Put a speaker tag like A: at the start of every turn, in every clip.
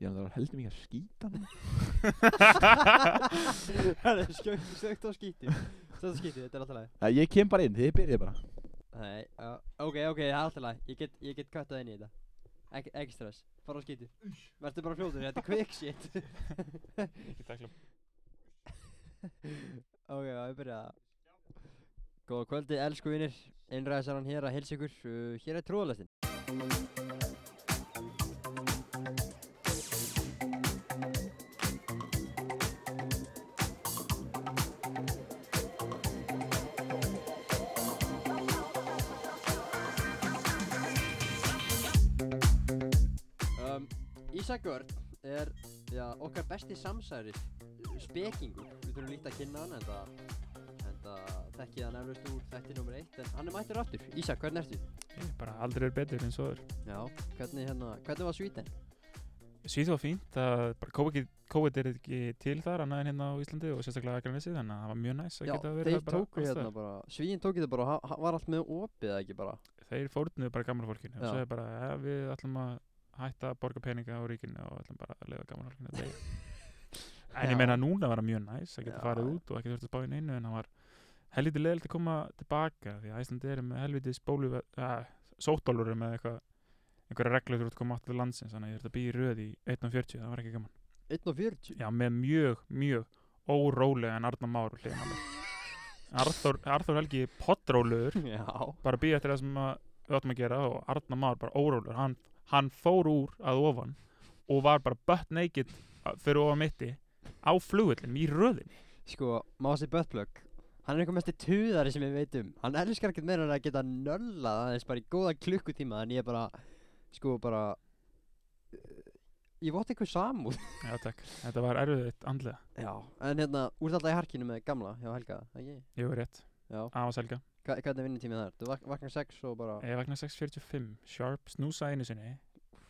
A: Ég er náttúrulega heldur mikið að skýta hann
B: Það er skjögt, skjögt og skíti Þetta skíti, þetta er alltaf læg
A: Nei, Ég kem bara inn, þið byrjið bara
B: Nei, uh, ok, ok, það er alltaf læg Ég get, ég get kvættað inn í þetta Ek, Ekki stress, fara á skíti Vertu bara fljótur, þetta er quick shit
C: Ekki tækla
B: Ok, já, við byrja Góða kvöldi, elsku vinnir Einræðisarann hér að heilsa ykkur uh, Hér er trúðalestin um, Ísak Örn er já, okkar besti samsæri eh, spekingur, við þurfum lítið að kynna hann en það, en það þekkið hann eflaust úr þætti nummer eitt en hann er mættur aftur, Ísak, hvernig ertu?
C: Ég hef bara aldrei verið betur eins og þur
B: Já, hvernig hérna, hvernig var svítin?
C: Svíð var fínt, það bara COVID, COVID er ekki til þar annað en hérna á Íslandi og sérstaklega Akranesi þannig að það var mjög næs að
B: Já,
C: geta verið
B: þeir
C: þar bara
B: tóku
C: alls
B: hérna bara, svíin tók þetta bara, ha- ha- var allt með opið eða ekki bara
C: staðar. Þeir fórnuðu bara gamla fólkinu og
B: Já.
C: svo er bara, ja, við ætlum að hætta að borga peninga á ríkinu og ætlum bara að lifa gamla fólkinu að deyja En
B: Já.
C: ég meina núna var það mjög næs að geta
B: Já,
C: farið
B: já.
C: út og ekki þurft að spá í neinu en það var helviti leðilt að koma tilbaka því að Íslandi er með helviti spólu uh, sótdólur með eitthvað einhverja reglur þú ert að koma aftur til landsins þannig að ég þurft að býja í röð í 1.40 það var ekki gaman
B: 1.40
C: já, með mjög, mjög órólegan Arnar Már við hliðina á mér. Arþór, Arþór Helgi pottrólegur
B: Já,
C: bara býja eftir það sem að við áttum að gera og Arnar Már bara órólegur hann, hann fór úr að ofan og var bara butt naked uh, fyrir ofan mitti á flugullin í röðin
B: sko, Mási Böttblögg Hann er einhver mesti tuðari sem ég veit um Hann elskar ekkert meira en að geta nöllað aðeins bara í góða klukkutíma En ég bara, sko bara eh, Ég vótt einhver samúð
C: já, takk, þetta var erfiðitt andlega
B: Já, en hérna, úr alltaf í harkinu með gamla hjá Helga, ekki?
C: ég var rétt,
B: Já,
C: aðeins helga
B: Hva, hvernig vinnutími það er? Þú vak vaknar 6 og bara
C: ég vaknaði 6.45, sharp, snúsa einu sinni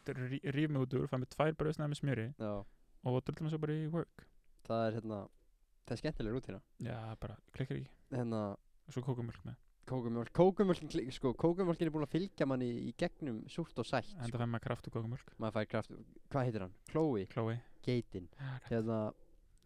C: rí- ríf mig út úr, fæ mig tvær bröðsnaði með smjöri
B: Já,
C: og drullum mig svo bara í work
B: það er hérna Það er skemmtileg rútina
C: já, bara klikkar ekki
B: Hérna,
C: og svo kókumjölk með
B: kókumjólk Kókumjólkin, kli- sko, kókumjólkin er búin að fylgja manni í gegnum súrt og sætt
C: enda
B: sko.
C: fæði maður kraft og kókumjölk
B: Maður fær kraft, hvað heitir hann? Chloe,
C: Chloe
B: geitin Hérna,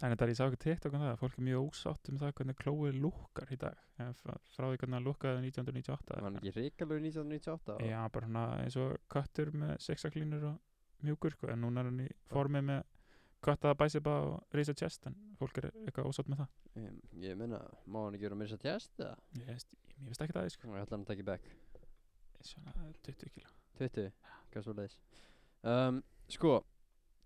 C: en þetta er ég sá ekki tekt okkur um það að fólk er mjög ósátt um það hvernig Chloe lukkar í dag En frá frá því hvernig hann lukkaði 1998
B: var hann
C: eða
B: ekki ríkalur 1998?
C: eitthvað. já bara svona eins og köttur með sexaklínur og mjúkur sko. en núna er hann í formi með köttaða bæsipa og risa chest en fólk er eitthvað ósátt með það
B: Ég, ég meina, má hann ekki vera meira þess að tjast eða?
C: ég veist, ég, ég veist ekki það sko.
B: Ég ætla hann að taka í back
C: svona 20 kilo
B: 20, hvað svo leiðis um, Sko,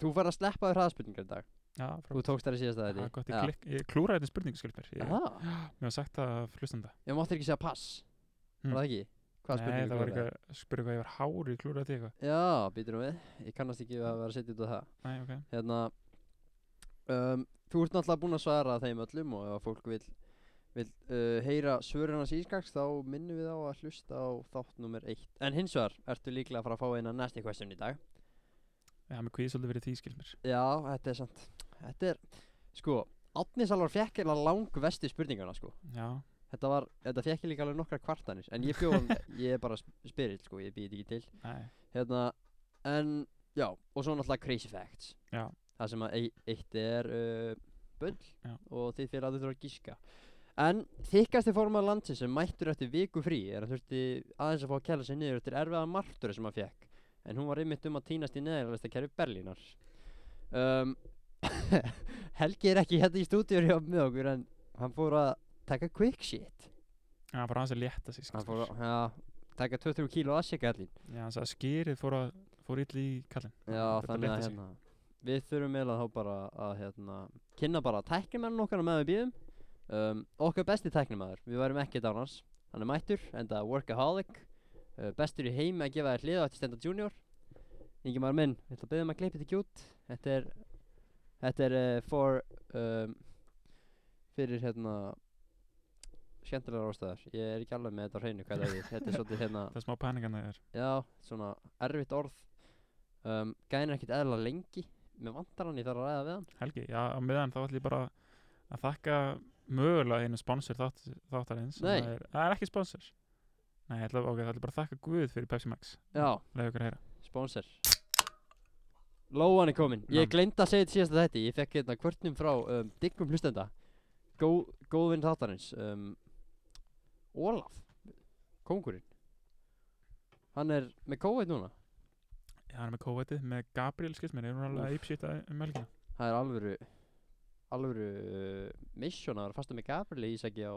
B: þú fær að sleppa þér hraðspurningar í dag
C: já,
B: Þú
C: frá,
B: tókst þær í síðasta
C: það
B: þetta
C: er gott ég, klikk, ég klúraði þetta spurningu skilt mér ég,
B: Aha.
C: mér var sagt að flustanda
B: Ég mátti ekki segja pass
C: Mm.
B: Var það ekki? Hvað
C: nei
B: spurningu
C: það var
B: klúraði?
C: eitthvað að spyrja hvað ég var hári klúraði þetta eitthvað
B: Já, býtur nú við Ég kannast ekki við að vera að setja út á það
C: nei ok
B: Hérna um, Þú ert náttúrulega búinn að svara þeim öllum og ef að fólk vil, vil uh, heyra svörin hans ískaks þá minnum við á að hlusta á þátt nummer eitt En hins vegar ertu líklega að fara að fá eina næsti question í dag
C: Já, mér kvíði svolítið verið því, skil mér.
B: Já, þetta er sant Þetta er, sko Átni Salvar fekk eða lang vestu spurninguna sko
C: Já,
B: Þetta var, þetta fekk ég líka alveg nokkra kvartanir En ég bjóðum, ég er bara sp- spyrill sko, ég býð ekki til
C: nei,
B: hérna, en já, og svo náttúrulega crazy facts
C: Já.
B: það sem að ei- eitt er uh, bull
C: Já.
B: og þið fyrir að þau þurfa að gíska en þykkasti form af landi sem mættur eftir viku frí er að þurfti aðeins að fá að kæla sig niður eftir erfiða martur sem hann fekk en hún var einmitt um að týnast í neðarlega kerfi Berlínar um, Helgi er ekki hérna í stúdíur hjá með okkur en hann fór að taka quick shit
C: en hann fór aðeins að létta sig, skil
B: hann fór að ja, taka 2-3 kíló að sig gallin
C: Já, hann sagði að skýrið fór, að, fór illi í kallin.
B: Já,
C: Þurfti
B: þannig að
C: létta sig.
B: hérna, við þurfum eiginlega þá bara að hérna, kynna bara tæknimennum okkar á meðan við býðum um, Okkar besti tæknimæður, við værum ekki dánans Hann er mættur, enda workaholic uh, Bestur í heimi að gefa þér hlið á eftir stenda junior Ingi maður minn, við ætla að byggðum að gleypa þetta gjút Þetta er, þetta er uh, for, um, fyrir hérna skemmtilegar ástæðar Ég er ekki alveg með þetta á hreinu hvað það er Þetta er svolítið hérna
C: Það er smá pæningan það er.
B: Já, svona erfitt orð um, Gæðin er ekkert eðla lengi Mér vantar hann, ég þarf að ræða við hann
C: Helgi, já, á meðan þá ætlum ég bara að þakka mögulega einu sponsor þátt, þáttarins. en
B: Nei.
C: Það er, það er ekki sponsor. Nei, ég ætla, ok, það ætlum bara að þakka Guð fyrir Pepsi Max.
B: Já,
C: Leðu ykkur að heyra.
B: sponsor Lóan er komin Ég
C: Nam.
B: gleymd að segja þetta síðasta þetta Ég fekk hérna kvörtnum frá um, diggum hlustenda Gó, Góðvinn þáttarins um, Ólaf Kóngurinn Hann er með kóið núna
C: Já, hann er með kóvetið, með Gabriel skils mér, er hún alveg að ípsýta um helgina.
B: Það er alvöru Alvöru uh, mission að vera fasta með Gabriel Ísaki á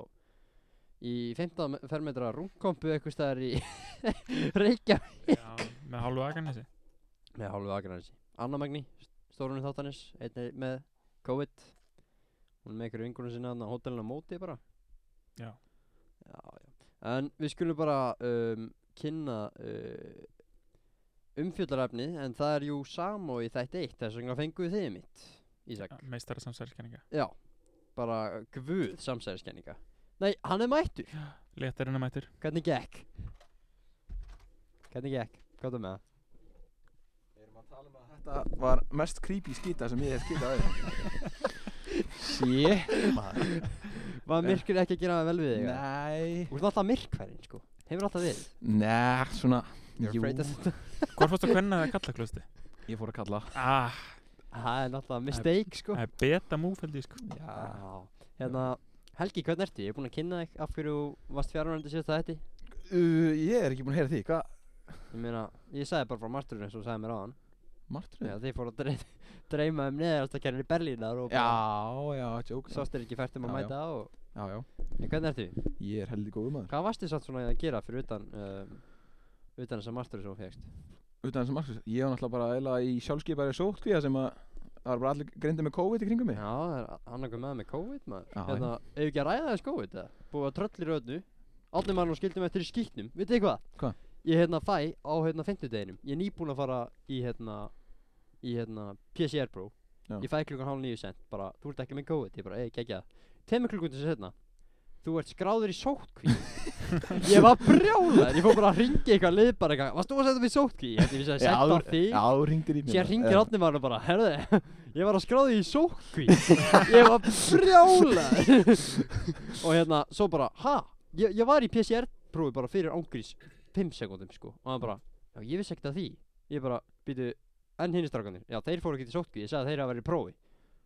B: Í 15 me- fermetra rúmkompu Eitthvað staðar í Reykjavík
C: Já, með hálfu aganesi.
B: Með hálfu Akranesi Anna Magni, stórunni þáttanis Einnig með COVID Hún er með ykkur vingunum sinna Þannig á hótelinu á móti bara
C: Já.
B: Já, já En við skulum bara um, kynna uh, umfjöldarefni En það er jú Samo í þætti eitt Þess vegna fenguðu þið mitt Ísak
C: Meistara samsælskenninga.
B: Já, bara guð samsæðiskenninga Nei, hann er mættur
C: Letarinn að mættur.
B: Hvernig gekk? Hvernig gekk? Hvað það með það?
A: Við erum að tala um að þetta var mest creepy skýta sem ég hef skýtað að Shit, maður
B: Var myrkur ekki að gera vel við þig? eða?
A: Eh. Nei
B: Þú ert alltaf myrkfærin sko Hefur alltaf verið
A: Nei, svona Jú,
B: þetta
C: Hvor fórst að hvenna eða kalla klusti?
A: ég fór að kalla
C: Ah,
B: Það er náttúrulega mistake sko
C: það er beta move held ég sko.
A: Já
B: Já Hérna Helgi, hvernig ertu? Ég er búinn að kynna þig af hverju þú varst fjárhundur síðast að þetta
A: uh, Ég er ekki búin að heyra því, hvað?
B: Ég meina, ég sagði bara frá marturinn eins og þú sagði mér á hann
A: Martröð?
B: Þegar þið fóru að dreif, dreima um neðast að kæra í Berlínar og
A: Já, já, joke
B: Sást er ekki fært um að
A: Já, já.
B: mæta og
A: Já, já
B: En hvernig ertu?
A: Ég er heldig góðu maður
B: Hvað varst þið satt svona að gera fyrir utan um, Utan þess að marturinn sem þú fegst?
A: Utan þessum martröð Ég var náttúrulega bara eila í sjálfskeipari sótkvíða sem að Það var bara allir greindi með COVID í kringum mig
B: Já, það er annarkoð með með COVID maður
A: Já,
B: Hérna, ef ekki að ræða þess COVID eða Búið að tröll í raunnu Allir mann og skildum eftir í skýtnum Vitið þið hvað?
A: Hvað?
B: Ég hérna fæ á hérna 50 deginum Ég er nýbúinn að fara í hérna Í hérna PCR Pro
A: Já.
B: Ég fæ klukkan hálf nýju sent Bara, þú ert ekki með COVID Ég bara, ei, gegja Tveimur klukkundir sem setna Þú ert skráður í sótkví Ég var brjálæður Ég fór bara að ringi eitthvað lið bara eitthvað Varst þú að setja mig í sótkví? Ég ætti að
A: Já,
B: setja á
A: þú-
B: þig
A: Já, þú ringdir í mig Eh,
B: Sér
A: maður. Já.
B: ringir
C: Hérna, eh.
B: Átni maður og bara, herðu, ég var að skráði í sókví Ég var frjála Og hérna, svo bara, ha? Ég, ég var í PCR prófi bara fyrir ángrís 5 sekúndum sko Og hann bara, já ég vissi ekkert að því Ég bara, býtu, enn hinni strákanir Já, þeir fóru ekki í sókví, ég sagði að þeir hafa verið í prófi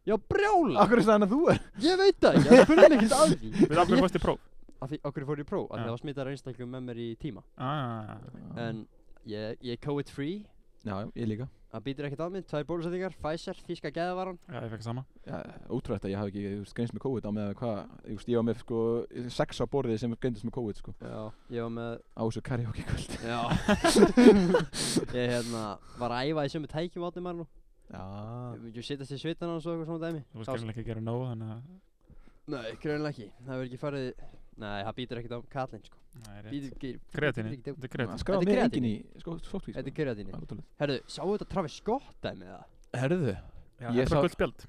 B: Já, brjála,
A: Akkur er það að þú er
B: ég veit það ekki, það spurði mig ekkert að því
C: Ah. Við ákveðum fórst í próf.
B: Af því, okkur fóru í próf, af því
C: Já.
B: það var smittar einstaklingum með mér í tíma
C: Ah,
B: En ég, ég COVID free,
A: Já, ég líka
B: það býtur ekkert að mig, tvær bólusetningar, Pfizer, þíska geðavaran
C: já, ég fekk sama.
A: Já, Ótrúlegt að ég hafi ekki þú veist, greinst með COVID á með hvað þú veist, Ég var með sko sex á borðið sem greindist með COVID sko
B: Já, ég var með
A: Á þessu karaoke kvöld
B: Já Ég hérna var að æfa í sömu tækjum átni maður nú
A: Já
B: Ég setjast í svitan hans og eitthvað svona dæmi
C: Þú veist
B: Þá-
C: greinlega ekki að gera nóg, þannig að...
B: Nei, greinlega ekki Það verður ekki farið Nei, það býtur ekkert á kallinn sko
C: Nei, rétt.
B: Býtur ekki
C: Kreatíni.
B: býtur ekkert á-
C: Þetta
A: Skrá
B: Þetta
C: er kreatíni.
B: er
A: mér
B: kreatín.
A: engin í sko, sótvík
B: Þetta er kreatíni
A: kreatín
B: Herðu, sáu þetta Travis Scott dæmi það?
A: Herðu
C: Já,
A: Ég
C: þetta er bara
A: sá-
C: gult spjald.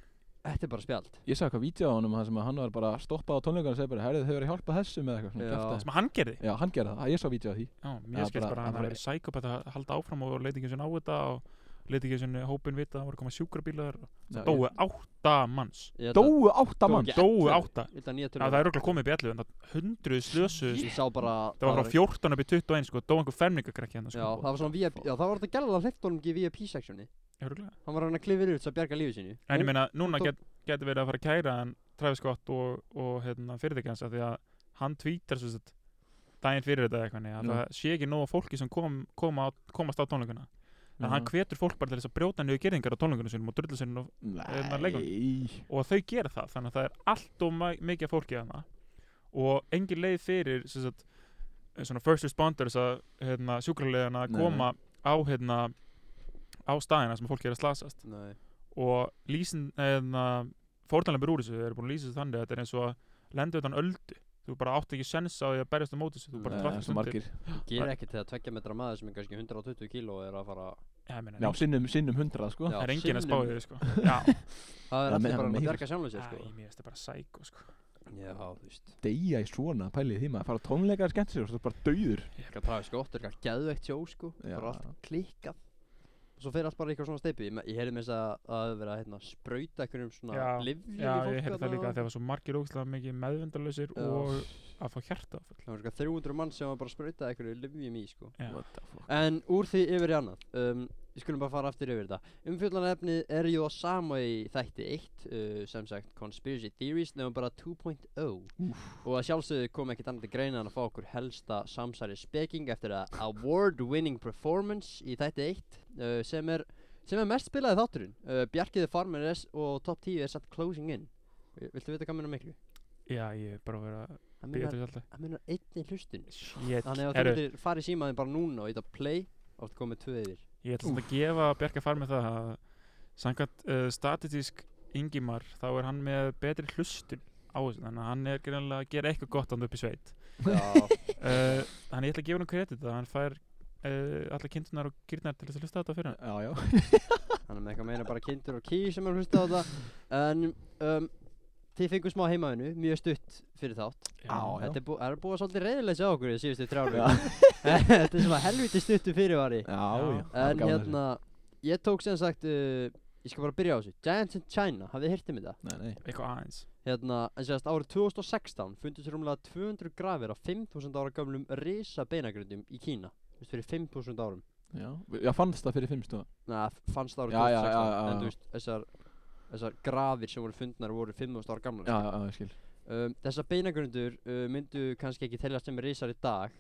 B: Þetta er bara spjald
A: Ég sagði eitthvað vídeo á honum það sem að hann var bara að stoppa á tónleikann og segja bara Herðu þau verið að hjálpa þessum eða eitthvað svona
B: Já.
A: kjaftaði.
C: Sem að hann gerði.
A: Já, hann gerði það, ég sá vídeo á því
C: Já,
A: Já,
C: mér skilst
A: bara-
C: bara að
A: hann
C: það
A: bara-
C: verið sækópat að halda áfram og leita ekki svona á þetta og leita ekki svona hópin vita að það voru að koma sjúkrabílar og
A: Já, ég-
C: dói átta manns
B: Ég held að-
A: Dóu átta
B: Dóu
A: mann
B: ekki.
C: dói
B: Ellefu.
C: átta
B: Ég held að nýja
C: Já,
B: tölum
C: það er okkur komið upp í 11 en það hundruð slösu
B: Ég sá bara
C: það var frá 14 upp í 21 sko, dói einhver fermingakrekki hann
B: Já, það
C: sko.
B: var svona VIP Já, það var þetta gæla að hlifta honum ekki í VIP-sectioni
C: Já, örugglega.
B: Hann var að reyna að klifir út svo að bjarga lífi sínu
C: en ég
B: Ó,
C: meina, núna
B: dó-
C: get, getur verið að fara að kæra en Travis Scott og, og hérna, fyrirtæki hans af því að hann tvítar svo sett daginn fyrir þetta eða eitthvað þannig að
A: Nú.
C: það sé ekki nóg af fólki sem kom, kom á, komast á tónleikuna en hann
A: Já.
C: hvetur fólk bara til þess að brjóta niður gerðingar á tónleikunum sínum og drullu sinum og, hérna, leikum.
A: Nei
C: og þau gera það þannig að það er allt og ma- mikið af fólki að og engin leið fyrir sem sagt, eh, svona first responders að hérna, sjúkraliðan að
A: Nei,
C: koma á hérna á staðina sem fólk er að slasast
B: Nei
C: og lýsin hérna, fórtalamir úr þessu, þeir eru búin að lýsa þessu þannig að þetta er eins og að lenda utan öldu þú bara átt ekki sens á því að berjast á móti þessu þú bara
A: Það
B: Nei,
A: er
C: drattist
A: svo
C: undir
A: margir
B: Gerir ekkert þegar tveggja metra maður sem er kannski 120 kíló er að fara
C: Já, ég meina,
A: Já, sinnum, sinnum hundrað sko
B: Já,
C: það er engin að spá
B: sinnum.
C: því sko. já,
B: Það er
A: Það
B: allir
A: meina
B: bara að
A: meira.
B: bjarga sjálfum sér
C: Æ,
B: sko
C: mér finnst þetta bara sæko sko.
B: Já, þú veist
A: Deyja í svona, pælið í því maður Fara á tónleika að skemmt sér og svo bara dauður
B: Eitthvað Travis Scott er eitthvað geðveikt sjó sko
A: Já.
B: Bara allt klikkað Og Svo fer allt bara í eitthvað svona steipi Ég, me- ég heyrði með þess að að það hefur verið að hérna, sprauta einhverjum svona
C: Já,
B: livjum
C: já, ég heyrði það líka að það var svo margir ógæslega mikið meðvendarlausir
B: Já.
C: og að fá hjarta áfall
B: Það var sko 300 mann sem var bara að sprauta einhverju livjum í sko
C: Já.
A: What the fuck
B: En úr því yfir í annað um, Við skulum bara fara aftur yfir þetta Umfjöldunarefnið er jú á sama í þætti 1 uh, Sem sagt Conspiracy Theories Nefnum bara 2.0 Og að sjálfsögðu kom ekkert annað til greina En að fá okkur helsta samsæri speking Eftir að award winning performance Í þætti 1 uh, Sem er sem er mest spilaði þátturinn uh, Bjarkiði Farmer er s- og top 10 er satt closing in Viltu vita hvað minna miklu?
C: Já, ég er bara að vera að
B: Það
C: byggja
B: munar-
C: þessu alltaf
B: það munar einni hlustun
C: Shit,
B: Þannig að þú
C: herru,
B: getur farið símaðin bara núna og eitthvað play og þú komið tvö yfir
C: ég ætla samt að gefa Bjarka far með það að samkvæmt uh, statistísk Ingimar, þá er hann með betri hlustun á þessu, þannig að hann er greinlega að gera eitthvað gott hann upp í sveit
B: Já,
C: uh, Þannig ég ætla að gefa hann kredit að hann fær uh, alla kindunar og gyrnar til þess að hlusta á þetta fyrir hann
A: Já, já
B: hann er með eitthvað meina bara kindur og ký sem er hlustað á það En um, þið fengu smá heimaðinu, mjög stutt fyrir þátt
A: Já, já.
B: Þetta er, bú, er búið svolítið reyðilegsa á okkur í síðustu þrjáru Þetta er svona helviti stuttu fyrirvari
A: Já, já það var
B: En
A: gaman að
B: hérna, ég tók sem sagt, uh, ég skal bara byrja á þessu Giants in China, hafið þið hirt um þetta?
A: þessu. Nei, nei
C: Eitthvað aðeins
B: Hérna, en sérst árið 2016 fundust rúmlega 200 grafir af 5000 ára gamlum risa beinagröndum í Kína Þú veist, fyrir 5000 árum
A: Já, já fannst það fyrir fimm stóða
B: Nei, Hérna, fannst það árið
A: Já, já, já,
B: 2016
A: já,
B: En
A: já.
B: þú veist, þessar, þessar grafir sem voru fundnar voru 5.000 ára gamlar
A: Já, já, já, ég skil
B: um, Þessar beinagrundur uh, myndu kannski ekki teljast sem risar í dag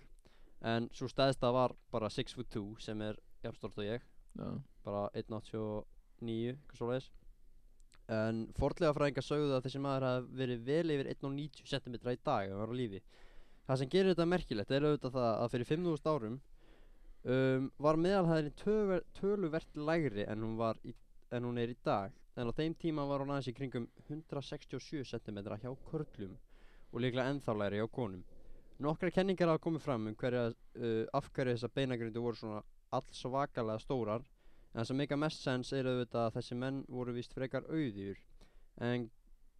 B: En svo stæðsta var bara 6 foot 2 sem er jafnstort og ég
A: Já,
B: Bara 1.89, hvað svo leiðis En fornleifafræðingar sögðu að þessi maður hafi verið vel yfir 1.90 cm í dag ef hann var á lífi Það sem gerir þetta merkilegt er auðvitað það að fyrir 5.000 árum um, var meðalhæðin töluver, töluvert lægri en hún, var í, en hún er í dag en á þeim tíma var hún aðeins í kringum 167 cm hjá körlum og líklega ennþá lægri hjá konum Nokkrar kenningar hafa komið fram um hverja, uh, af hverju þessar beinagrindu voru svona allsvakalega stórar en það sem meika mest sens er auðvitað að þessi menn voru víst frekar auðjur en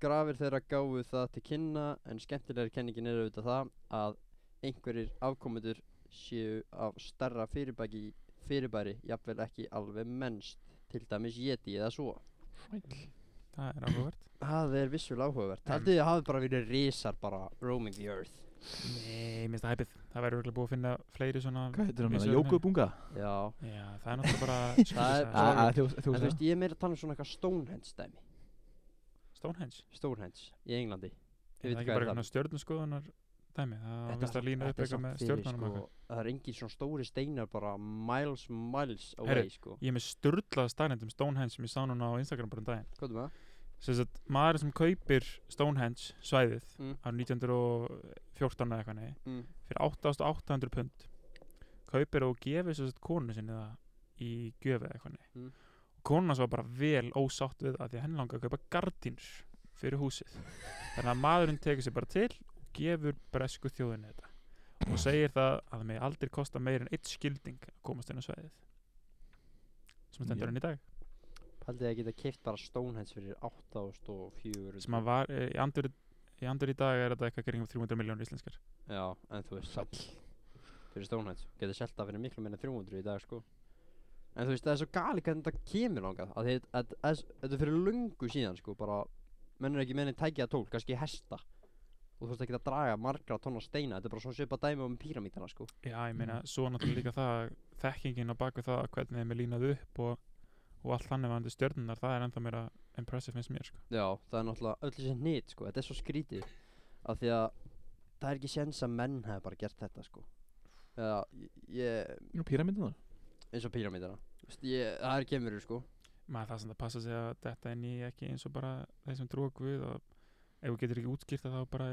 B: grafir þeirra gáfu það til kynna en skemmtilegri kenningin er auðvitað það að einhverjir afkomendur séu af starra fyrirbæki, fyrirbæri jafnvel ekki alveg mennst til dæmis jeti eða svo
C: Það er áhugavert
B: Það er vissulega áhugavert
C: En-
B: Haldið þið hafi bara verið risar bara roaming the earth
C: Nei, minnst það hæpið Það væri örugglega búið að finna fleiri svona
A: hvað heitir hann?
C: Vissu það?
A: Jókubunga?
B: Já
C: Já, það er náttúrulega bara
B: Það er-
C: skurðsaga.
A: Á,
B: það
A: á, Ah, Þú
B: En
A: þú
B: þú
A: veist
B: veist ég er meira að tala um svona eitthvað Stonehenge dæmi
C: Stonehenge
B: Stonehenge í Englandi
C: Er
B: veit hvað
C: það ekki
B: er
C: bara
B: það.
C: eitthvað stjörnuskoðunar dæmi? Það
B: Þetta
C: vist
B: var-
C: að lína upp
B: þetta er
C: eitthvað
B: samt
C: með
B: fyrir,
C: stjörnunum
B: sko,
C: eitthvað.
B: Það er engin svona stóri steinar bara miles miles away
C: Herru.
B: sko
C: Ég er með störðlað staðnendum Stonehenge sem ég sá núna á Instagram bara um daginn.
B: Hvað er það?
C: Sess að maður sem kaupir Stonehenge svæðið
B: Mm.
C: árið 1914 eða eitthvað nei,
B: Mm.
C: fyrir 8800 pund kaupir og gefur sess að konu sinni það í gjöfi eða eitthvað nei.
B: Mm.
C: Konan svo bara vel ósátt við það því að henni langar að kaupa gardínur fyrir húsið. Þannig að maðurinn tekur sér bara til og gefur bresku þjóðinni þetta. og segir það að það með aldrei kosta meir en eitt skilding að komast inn á svæðið sem stendur
A: Já.
C: enn í dag
B: Haldið þið að geta keift bara Stonehenge fyrir 8400
C: sem að var eh, í andur, í andur í dag er þetta eitthvað kringum 300 miljónur íslenskar
B: Já, en þú veist samt fyrir Stonehenge, getur selt það fyrir miklu minna en 300 í dag sko En þú veist, það er svo gali hvernig þetta kemur langað að þið- að- að þess- Þetta er fyrir lungu síðan sko, bara mennur ekki menni tækja tól, kannski hesta og þú veist ekki að draga margra tonna steina þetta er bara svona svipa dæmi um píramítana sko
C: já ég meina svo náttúrulega líka það að þekkingin á baku það hvernig þeim er línað upp og, og allt þannig varandi stjörnunar það er ennþá meira impressive finnst mér sko.
B: Já, það er náttúrulega öll þessi hnit sko, þetta er svo skrítið af því að það er ekki séns að menn hefði bara gert þetta sko Já, ég,
A: Píramindina?
B: eins og píramítana ég, það er kemur sko
C: maður það sem það passa sig að þetta er ný ekki eins og bara þeir sem trúa guð og ef þú getur ekki útskýrt það þá bara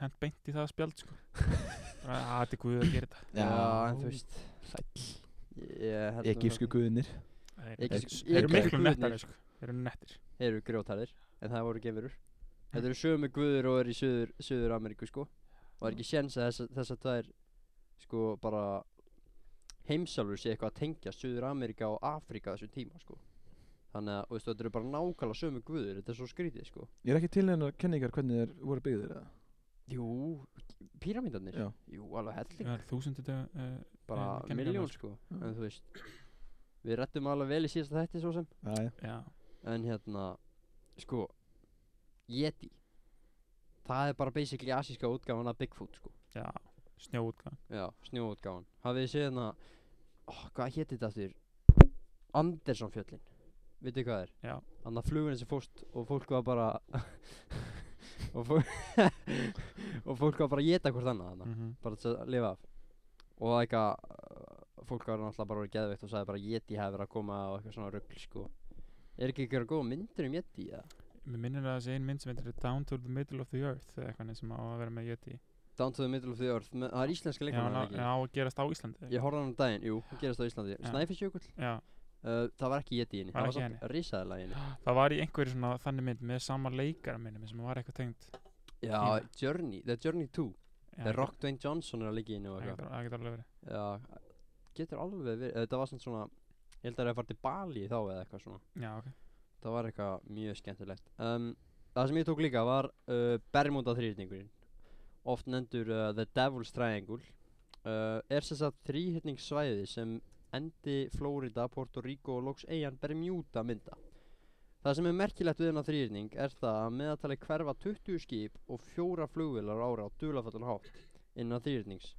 C: hent beint í það spjald sko. Bara, að þetta er guð að gera þetta
B: Já, en þú veist
A: Sæll
B: Ég held að
A: Egísku guðinir
C: Þeir-
B: Ekki-
C: þeir-
B: ekki-
C: þeir eru
A: ekki-
C: miklu
B: guðnir.
C: nettari sko. Þeir eru nettir
B: það eru grjótarðir En það voru gefurur Þetta eru sömu guður og eru í Suður, Suður Ameríku sko Og það er ekki séns að þess, þess að það er Sko bara Heimsálfur sé eitthvað að tengja Suður Ameríka og Afríka á þessum tíma sko Þannig að, og veistu, þetta eru bara nákvæmlega sömu guður Þetta er svo skrítið sko
A: Ég er ekki til hennar kenningar hvernig þeir voru byggðir eða?
B: Jú, píramítarnir
A: Já
B: Jú, alveg helling
C: Það er þúsundu dag uh,
B: Bara
C: ég kenni ekki
B: miljón
C: annað,
B: sko
A: Já.
B: En þú veist Við rettum alveg vel í síðasta þætti svo sem
A: Já, já
C: Já,
B: En hérna Sko Yeti það er bara basically asíska útgáfan af Bigfoot sko
C: já, snjóutgang
B: já, snjóútgáfan hafið þið séð hérna oh, hvað héti þetta aftur Andersson fjöllin vitið hvað það er
C: Já.
B: þannig að flugurinn sem fórst og fólk var bara og, fó og fólk var bara að geta hvort annað þarna
C: mm -hmm.
B: bara til að lifa af og það eitthvað uh, fólk var náttúrulega bara orðið geðveikt og sagði bara Yeti hafi verið að koma og eitthvað svona rugl sko er ekki eitthvað góð myndir um Yeti eða?
C: Mér minnir að þessi ein mynd sem heitir Down to the Middle of the Earth eða eitthvað sem á að vera með Yeti
B: Down to the Middle of the Earth með, það er íslenska
C: Já,
B: leikmann
C: hann á,
B: er það
C: hann á að gerast á Íslandi
B: ekki ég horfði á hann um daginn jú hún gerist á Íslandi
C: Já.
B: Snæfisjökull
C: Já,
B: uh, það var ekki Yeti í henni
C: Var
B: það var
C: ekki E henni?
B: samt risaðilega í henni
C: það var í einhverju svona þannig mynd með sama leikara minnum sem var eitthvað tengt
B: já Journey The Journey 2
C: Já,
B: The Rock Dwayne Johnson er að leika í henni og
C: Það
B: eitthvað
C: getur- það getur alveg verið
B: já getur alveg verið þetta var samt svona ég held að það er að fara til Bali þá eða eitthvað svona
C: Já, ok
B: það var eitthvað mjög skemmtilegt um, það sem ég tók líka var uh, Bermuda þrýrningurinn oft nefndur uh, The Devil's Triangle uh, er sem sagt þrýhyrningssvæði sem endi Florida, Puerto Rico og loks eigin Bermuda mynda það sem er merkilegt við hennar þrýrning er það að meðatali hverfa 20 skip og fjóra flugvilar ára á dulafallan hátt innan þrýrnings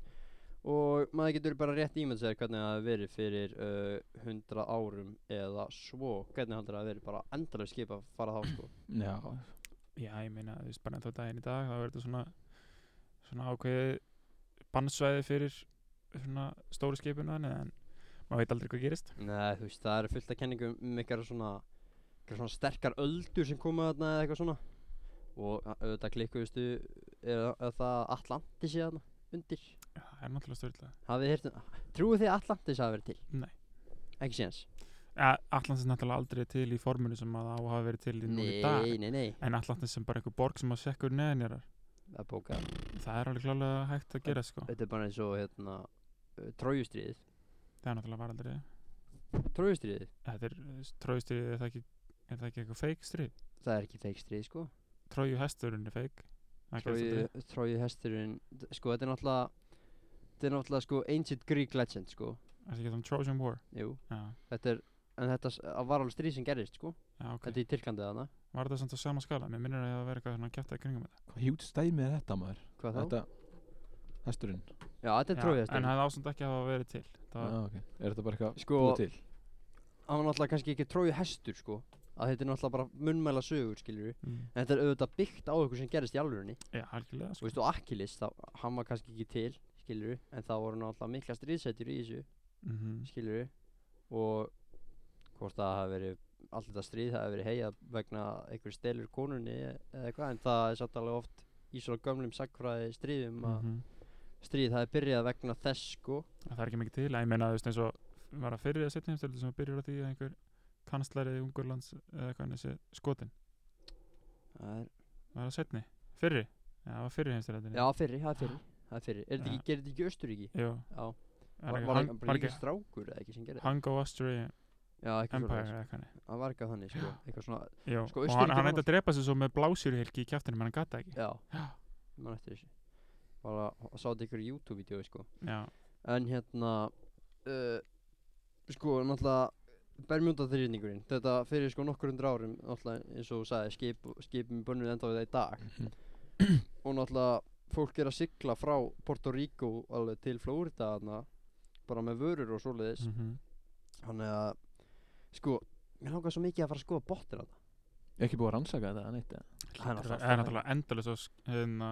B: og maður getur bara rétt ímynd sér hvernig það hefur verið fyrir uh, 100 árum eða svo hvernig heldur það að verið bara endalega skip að fara þá sko
A: Já,
C: Já, ég meina, þú veist, bara ennþá daginn í dag þá verður þetta svona svona ákveðið bannsvæði fyrir svona stóru skipuna þannig en maður veit aldrei hvað gerist
B: Nei, þú veist, það eru fullt af kenningum um eitthvað svona, eitthvað svona sterkar öldur sem koma þarna eða eitthvað svona og a- auðvitað klikkuðustu er, er það Atlantis í þarna undir
C: Já, það er náttúrulega störtlega
B: hafið hirtum, trúið þið að Atlantis hafi verið til?
C: Nei.
B: Ekki séns?
C: ja, Atlantis er náttúrulega aldrei til í formunu sem að það á hafa verið til í nú í dag
B: nei, nei,
C: en Atlantis sem bara einhver borg sem að sekkur neðinjarar
B: það er bókað
C: það er alveg klálega hægt að gera sko
B: Þetta er bara eins og hérna uh, trójustriðið
C: það er náttúrulega var aldrei
B: Trójustriðið,
C: þetta er trójustrið, er það ekki er það ekki eitthvað feik strið?
B: það er ekki feikstrið sko
C: Tróju hesturinn er feik það gerist aldrei.
B: Tróju, tróju hesturinn d- sko þetta er náttúrulega þetta er náttúrulega sko ancient Greek legend sko
C: Það er ekki um Trojan War
B: jú
C: Já,
B: þetta er en þetta s- að var alveg stríð sem gerist sko
C: já ok
B: þetta er í Tyrklandi þarna
C: Var þetta samt á sama skala? Mér minnir að það verið eitthvað svona kjátt að kringum þetta
A: hvað hjút stæmi er þetta maður?
B: hvað þá?
A: Þetta, hesturinn
B: já þetta er tróju
C: Já, En
B: hesturinn
C: það ásamt ekki að hafa verið til
A: Já,
C: Það,
A: Ah, ok, er þetta bara eitthvað
B: Sko-
A: búið til?
B: hann var náttúrulega kannski ekki tróju hestur sko að þetta er náttúrulega bara munnmæla sögur skiljur
C: mm.
B: en þetta er auðvitað byggt á eitthvað sem gerist í alvörunni
C: Já, algjörlega
B: Þú
C: sko.
B: veist og Achilles þá, hann var kannski ekki til skiljur en það voru náttúrulega mikla stríðsetjur í þessu
C: mm
B: skilur og hvort það hafi verið allt þetta stríð hafi verið heið vegna einhver stelur konunni eða eitthvað en það er satt alveg oft í svona gömlum sagfræði stríðum
C: Mhm.
B: að stríð hafi byrjað vegna þess sko
C: Það er ekki mikið til en Ég meina, þú veist eins og Var það fyrir að setja heimstöldu sem byrjur á því að einhver kanslari Ungurlands eða eitthvað hann þessi skotin
B: það er,
C: Var það setni? Fyrri? Já, það var fyrri heimstöldinni
B: já fyrir, það er fyrir það er fyrir, er þetta ekki, gerir þetta ekki í Östuríki?
C: Jú,
B: Já,
C: var,
B: var,
C: ekki,
B: var,
C: hang,
B: ekki-
C: var
B: bara
C: ekki
B: líka strákur eða ekki sem gerði það?
C: Hang of Austria
B: Já, eitthvað
C: Empire
B: svona,
C: eða eitthvað hannig
B: það var eitthvað þannig sko, eitthvað svona, Sko,
C: Jú, og
B: Austurríki
C: hann,
B: var
C: hann reyndi að drepa sig svo með blásýruhylki í kjáttinu, menn hann gata ekki
B: já, ég man eftir þessu bara, sá þetta ykkur YouTube-vídeói sko
C: Já,
B: En hérna uh, Sko, náttúrulega Bermuda þrýrningurinn Þetta fyrir sko nokkur hundra árum Náttúrulega eins og þú sagði skip, Skipum bönnuð enda við það í dag
C: Mhm.
B: Og náttúrulega fólk er að sigla frá Puerto Rico alveg til Florida þarna, Bara með vörur og svoleiðis
C: mm
B: Þannig að Sko, mér langar svo mikið að fara að skoða botnir þarna
A: Ekki búið að rannsaka þetta, neitt eða?
B: Það er
C: það
B: náttúrulega
C: er
B: alltaf
C: náttúrulega endalus og hérna,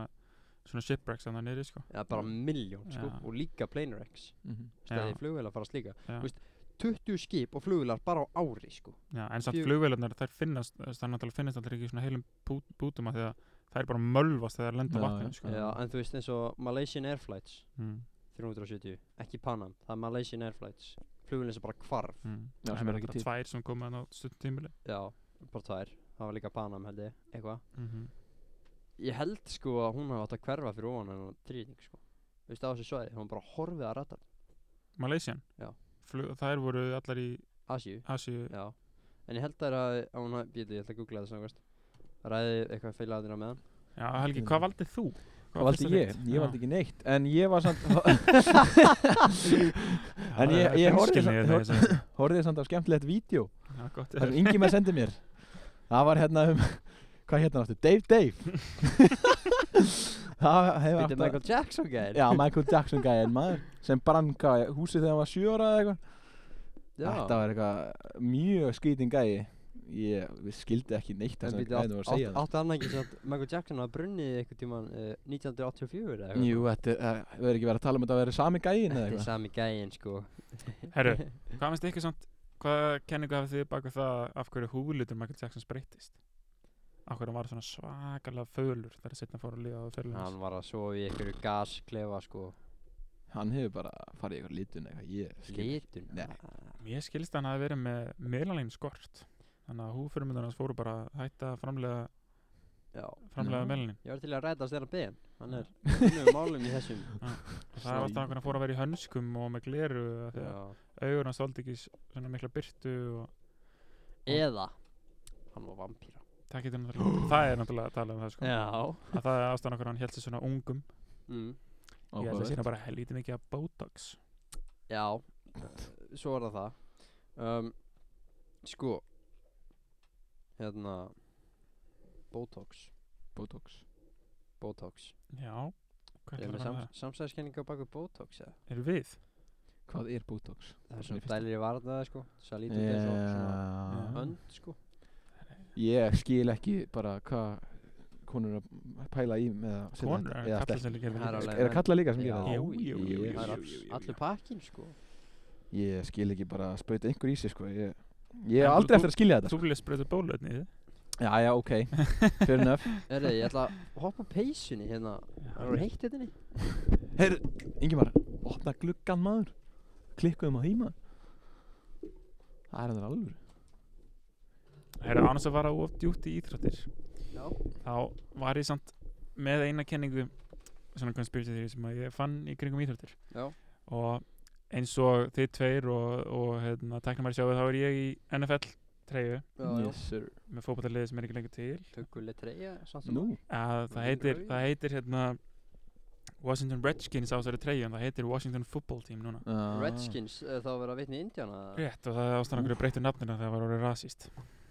C: svona shipwrecks þannig niðri sko
B: Já, bara miljón sko
C: Já.
B: Og líka Planer X
A: Mhm.
B: Stæði
C: Já.
B: flugvél að fara slíka
C: Já.
B: Þú veist, 20 skip og flugvélar bara á ári sko
C: Já, en samt
B: Fjögur.
C: flugvélarnar þær finnast þær náttúrulega finnast aldrei ekki í svona heilum bú- bútum að því að þær bara mölvast þegar þær lenda á
A: Já,
C: vatninu
A: já.
C: sko.
B: Já, en þú veist eins og Malaysian Airflights
C: Mm,
B: 370, ekki Panam, það er Malaysian Airflights flugulinn sem bara hvarf
C: mm.
A: Já, sem
C: Já, sem
A: er ekki til.
C: tvær sem koma þannig á stundum tímili
B: já, bara tvær, það var líka Panam held ég, eitthvað
C: mm
A: Mhm.
B: ég held sko að hún hafði átt að hverfa fyrir ofan hennar þrýning sko, þú veist á þessu svæði hún bara horfið að rata,
C: Malaysian
B: Já.
C: Flug, þær voru allar í
B: Asíu
C: Asíu
B: já, en ég held að það er að hún hafði, býtu, ég ætla að googla það samkvæmst ræði eitthvað feilaðir á meðan
C: Já, Helgi, hvað valdið þú?
A: Hvað valdi ég? Ég valdi ekki neitt, en ég var samt, En ég- ég horfði samt-
C: samt Það
A: horfið samt á skemmtilegt vídeo
C: er gott
A: Það sem Ingi maður sendi mér Það var hérna um hvað hérna náttúr, Dave Dave það hefur
B: Býttu Michael Jackson gæðir
A: já, Michael Jackson gæðin maður sem brann hvað, húsið þegar hann var sjö ára eða eitthvað Þetta var eitthvað mjög skýtin gæi Ég við skildi ekki neitt
B: En
A: þess að
B: býttu,
A: gæðinu var að segja það
B: áttu hann ekki satt Michael Jackson að brunnið eitthvað tíman uh, 1984 eða eitthvað?
A: Jú, þetta er, eh, við erum ekki verið að tala um þetta að vera sami gæin eða
B: Þetta er
A: eitthvað
B: sami gæin sko
C: Herru, hvað finnst ykkur samt, hvað kenningu hafið þið baka það af hverju húlutur Michael Jackson breyttist? Af hverju hann var svona svakalega fölur þar að setna fór að lífa á fölur hans?
B: Hann var að sofa í einhverju gasklefa sko
A: Hann hefur bara farið í eitthvað litun eitthvað Ég skil ekki.
B: Litun
A: Nei.
B: ah.
C: Mér skilst að hann hafi verið með melanin skort Þannig að húfurmyndar hans fóru bara að hætta að framlega,
B: Já
C: framlega
A: Nú.
C: melanin
B: Ég var til að ræta Steinar Ben Hann er Hann er málum í þessum
C: Og Það var alltaf hann fór að vera í hönskum og með gleru af því að
B: Já.
C: Augur hans þóldi ekki s- svona mikla byrtu og
B: Eða Hann var vampíra
C: það getur náttúrulega Það er náttúrulega að tala um það sko
B: Já
C: Að það er ástæðan okkur hann held sér svona ungum
B: mm.
C: Ég held að
A: Áhugavert.
C: sína bara helítið mikið að Botox
B: Já Svo er það það um, Sko Hérna Botox
A: Botox
B: Botox
C: Já Hvað
B: Erum
C: er
B: við
C: það?
B: sam samsæðiskenninga baku Botox eða?
C: Erum við?
A: Hvað er Botox?
B: Það
A: Bara svona í
B: er svona
A: fyrstu.
B: dælir í varnaða sko Svo lítið yeah. svona
A: Já.
B: hönd sko
A: Eh, Ég skil ekki bara hvað konur eru að pæla í með að setja
C: Konur
A: þetta-
C: er
A: eða
C: að kalla
A: stelpur.
C: sér líka
B: Það er
C: við
B: alveg-
A: Er að kalla líka sem
B: Já,
A: gera það?
C: Jú, jú, jú, jú,
B: Það er
C: jú,
B: alls-
C: jú, jú.
B: allur pakkin sko
A: Ég skil ekki bara að spauta einhver í sig sko Ég ég á
C: En þú-
A: aldrei eftir að skilja þetta
C: Þú vilja spröðu bólöfni í þið?
A: sko. Já, já, ok Fair enough
B: Erðu, ég ætla að hoppa á peysunni hérna Það voru heitt hérna inni.
A: Heyr, Ingimar, opna gluggan maður Klikkuðum á því maður Það er hann alveg
C: Það er annars að fara of djúpt í íþróttir
B: Já
C: þá var ég samt með eina kenningu svona conspiracy theory sem að ég fann í kringum íþjóttir
B: Já
C: og eins og þið tveir og, og hérna, tæknum að sjáu þá er ég í NFL treyju
B: Já, já
A: Yes sir
C: með fótballaliði sem er ekki lengur til
B: Tökuleg treyja samt sem
A: Nú,
C: að það heitir, það heitir hérna Washington Redskins á þessari treyju en það heitir Washington Football Team núna
B: áður.
A: Ah.
B: Redskins eh, þá verið að vitna í Indiana eða?
C: Rétt og það er ástæðan okkur að breyta nafnina þegar það var orðið rasist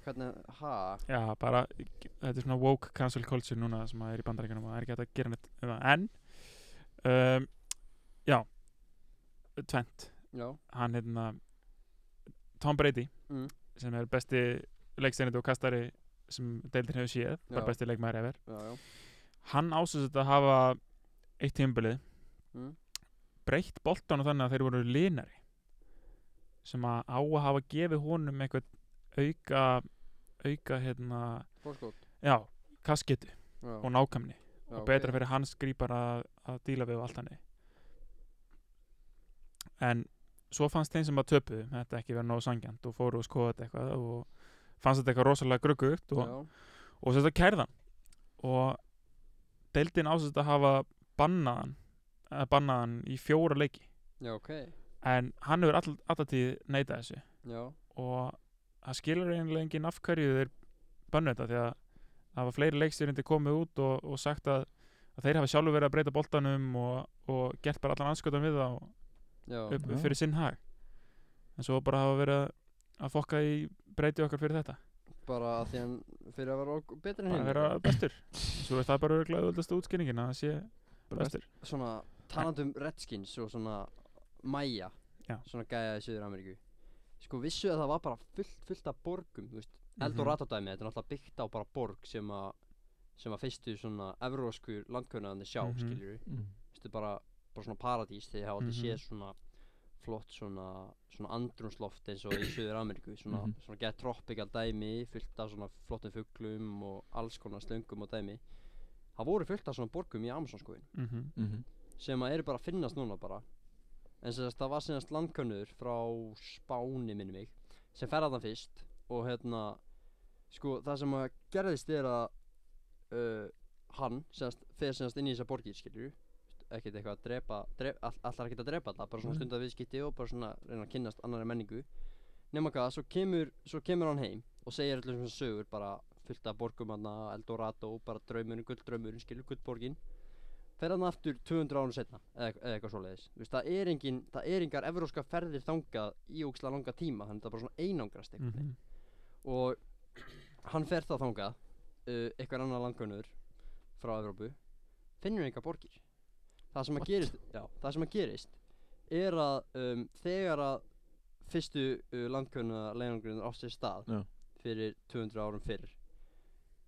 B: Hvernig, ha?
C: Já, bara, þetta er svona woke cancel culture núna sem að er í bandaríkanum og það er ekki hægt að gera neitt um það en um, Já Tvent
B: Já
C: hann hérna Tom Brady
B: Mm.
C: sem er besti leiksteinandi og kastari sem deildin hefur séð, bara
B: Já.
C: besti leikmaður efer
B: Já, já
C: hann ásins að hafa eitt tímbilið
B: Mm.
C: breytt boltan og þannig að þeir voru línari sem að á að hafa gefið honum eitthvað auka auka hérna
B: Fórskot
C: já, kasketu
B: Já,
C: og nákvæmni
B: já,
C: og
B: ok.
C: betra fyrir hans grípar að, að díla við og allt hannig en svo fannst þeim sem að töpuðu þetta ekki verið nógu sangjant og fóru og skoða þetta eitthvað og fannst þetta eitthvað rosalega gruggugt og,
B: Já,
C: og þetta kærðan og deildin ásist að hafa bannaðan að bannaðan í fjóra leiki
B: já, ok
C: en hann hefur all, alltaf tíð neitað þessu
B: Já,
C: og það skilur einlega enginn af hverju þeir bannu þetta því að það var fleiri leikstyrindi komið út og, og sagt að, að þeir hafa sjálfur verið að breyta boltanum og, og gert bara allan anskotan við það og-
B: já
C: upp,
A: Já.
C: fyrir sinn hag en svo bara hafa verið að fokka í breyti okkar fyrir þetta
B: Bara að því hann fyrir að vera ok- betri en
C: bara
B: hinn
C: að vera bestur svo er það bara örgulega auðvöldasta útskýringin að það sé
A: Bara
C: bestur
B: Svona talandum Redskins og svona Maja
C: Já.
B: Svona gæja í Suður Ameríku Sko vissu að það var bara fullt, fullt af borgum Þú veist,
C: Mhm.
B: Eldorado dæmi Þetta er náttúrulega byggt á bara borg sem að sem að fyrstu svona evróskur landkönnaðandi sjá, mm
C: Mhm.
B: skiljur
A: Mm.
B: þetta er bara, bara svona paradís þegar ég hafa aldrei
C: Mhm.
B: séð svona flott svona, svona andrumsloft eins og í Suður Ameríku svona,
A: Mhm.
B: svona get tropical dæmi fullt af svona flottum fuglum og alls konar slöngum og dæmi það voru fullt af svona borgum í sko. Amazonskoðin
C: mm -hmm.
A: Mhm.
B: sem að eru bara að finnast núna bara en sem þess það var sinnast landkönnur frá Spáni minni mig sem fer að það fyrst og hérna sko það sem að gerðist er að uh, hann sinnast, fer sinnast inn í þessar borgir skiljur ekkert eitthvað að drepa dref, all, allar ekkert að drepa alla bara svona
C: Mhm.
B: stundar viðskipti og bara svona reyna að kynnast annari menningu nema hvað svo kemur, svo kemur hann heim og segir allir svona sögur bara fullt af borgum hann Eldorado bara draumurinn, gulldraumurinn skiljur gullborgin fer hann aftur 200 árum setna eða, eit- eða eitthvað svoleiðis Þú veist, það, er engin, það er engar evróska ferðir þangað í ógislega langa
C: Mhm.
B: tíma þannig að það bara svona einangrast mm
C: Mm -hmm.
B: og hann fer þá þangað uh, eitthvað annar langunur frá Evrópu finnur einhver borgir það sem að gerist, já, það sem að gerist er að um, þegar að fyrstu uh, landkönna leiðangrunir á sér stað
A: Já.
B: fyrir 200 árum fyrr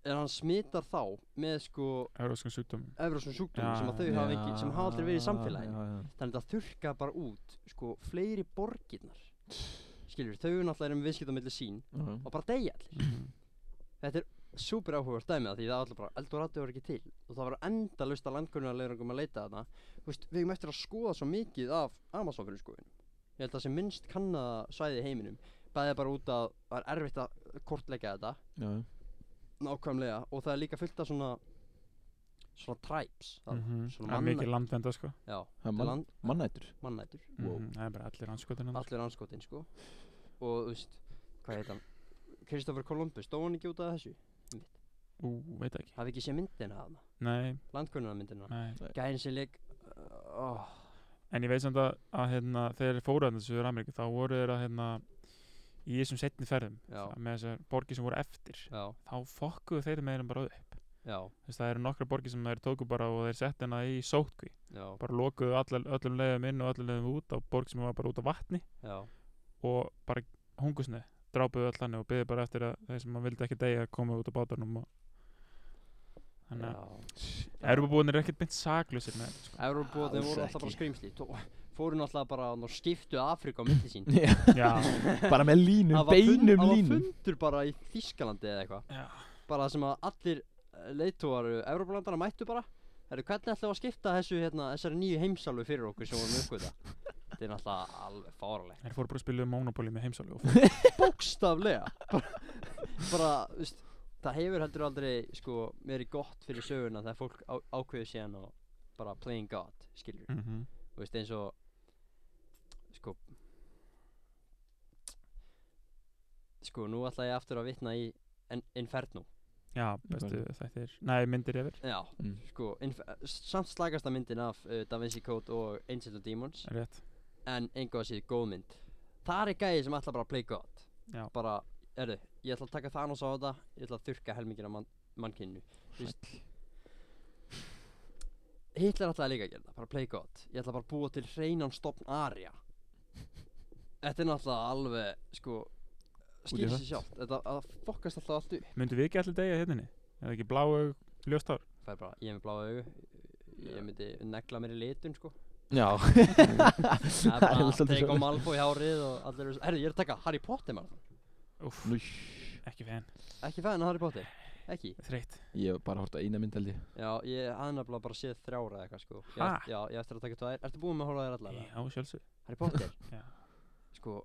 B: en hann smitar þá með sko
C: Európskan sjúkdómi
B: Evrópsum sjúkdómi
C: Já,
B: sem að þau hafa ekki, sem hafa aldrei verið í samfélaginu
A: Mm-hmm. já, já.
B: þannig að það þurka bara út sko fleiri borgirnar skilur, þau náttúrulega erum viðskipt á milli sín
A: Já.
B: og bara deyja allir
C: Mhm.
B: þetta er super áhugavert dæmi af því það er allir bara Eldorado er ekki til og það var endalaust að landkunnarleirangum að leita þarna Þú veist, við erum eftir að skoða svo mikið af Amazonfyrir skoðunum ég held að það sem minnst kannaða svæði í heiminum bæði bara út að það er erfitt að kortleika þetta
A: Já, já.
B: nákvæmlega og það er líka fullt af svona svona tribes þarna,
C: Mhm. Það
B: svona
C: er
B: manna,
C: mikið landvenda sko
B: já,
A: Það er
B: þetta er
A: mann-
B: land,
A: mannætur
B: mannætur
A: Wow.
C: Mhm, Það er bara allir anskotin
B: allir anskotin sko og þú veist, hvað heit hann Kristoffer Columbus, dó hann ekki út af þessu
C: Ú, veit ekki
B: hafi ekki séð myndina af hann,
C: Nei,
B: landkunnuna myndina
C: nei
B: gæðin sem leik uh, oh,
C: En ég veit samt að, að hérna, þegar þeir fóru að þessu Ameríku þá voru þeir að hérna, í þessum setni ferðum
B: Já.
C: það- með þessar borgir sem voru eftir
B: já,
C: þá fokkuðu þeir með þeim bara upp
B: já,
C: Þess, það eru nokkra borgir sem þeir tóku bara og þeir settu hana í sótkví
B: já,
C: bara lokuðu all, öllum leiðum inn og öllum leiðum út á borg sem var bara út á vatni
B: já
C: og bara hungusni drápuðu öll hann og byggðu bara eftir að þeir sem að vildi ekki degja koma út á bátarnum og... þannig að
B: já.
C: Europabúin er ekkert beint saklusir með þetta sko.
B: Európóðin
A: Alls
B: voru alltaf bara
A: ekki.
B: skrýmsli tó- fóru náttúrulega bara þarna og skiptu Afríku á milli sín
A: Já,
C: Já,
A: bara með línum,
B: Það var fund-
A: beinum
B: það var
A: línum
B: fundur bara í Þískalandi eða eitthvað
C: já,
B: bara sem að allir eh, leiðtogar Európa-landana mættu bara Heru, hvernig ætlum við að skipta þessu hérna, þessari nýju heimsálfu fyrir okkur sem vorum uppgöta þetta er náttúrulega alveg fáralegt
C: þeir fóru bara að spila um Monopoly með heimsálu og
B: bókstaflega bara, bara veist, það hefur heldur aldrei sko, verið gott fyrir söguna þegar fólk á, ákveður síðan og bara playing god skilur
C: mm -hmm.
B: Þú veist, eins og sko sko nú ætla ég aftur að vitna í En- Inferno
C: Já, bestu þættir Nei, myndir yfir
B: já
A: Mm.
B: sko, inf- samt slækasta myndin af uh, Da Vinci Code og Angels and Demons
C: Rétt
B: en einhvað sér góð mynd þar er gæði sem ætla bara að play god
C: Já.
B: bara, erðu, ég ætla að taka Thanos á þetta ég ætla að þurka helmingina mann, mannkinnu Hitler ætlaði líka að gera það, bara play god ég ætla bara að búa til hreinan stopn Arya þetta er náttúrulega alveg sko
A: í
B: skýr
A: hött.
B: sér sjálft, þetta að fokkast alltaf allt upp
C: Myndu við ekki allir degja hérna? Eða ekki bláu ljóstár?
B: það er bara, ég er með bláa augu ég myndi negla mér í litun sko
A: Já
B: Það er bara að
A: svolítið
B: teka
A: svoleiðis.
B: Malfoy í hárið og allir eru Herru, ég er að taka Harry Potter mann
C: Úff,
A: Nú,
C: ekki fenn
B: Ekki fæðin að Harry Potter Ekki
C: Þreitt
A: Ég hef bara hort að eina mynd held ég
B: Já, ég hafði nefnilega bara séð þrjára eða eitthvað sko ég,
C: Ha?
B: ætti- Já, ég á eftir að taka tvær Ertu búinn með að horfa á þér allar? eða?
C: Já, sjálfsög
B: Harry Potter
C: Já.
B: Sko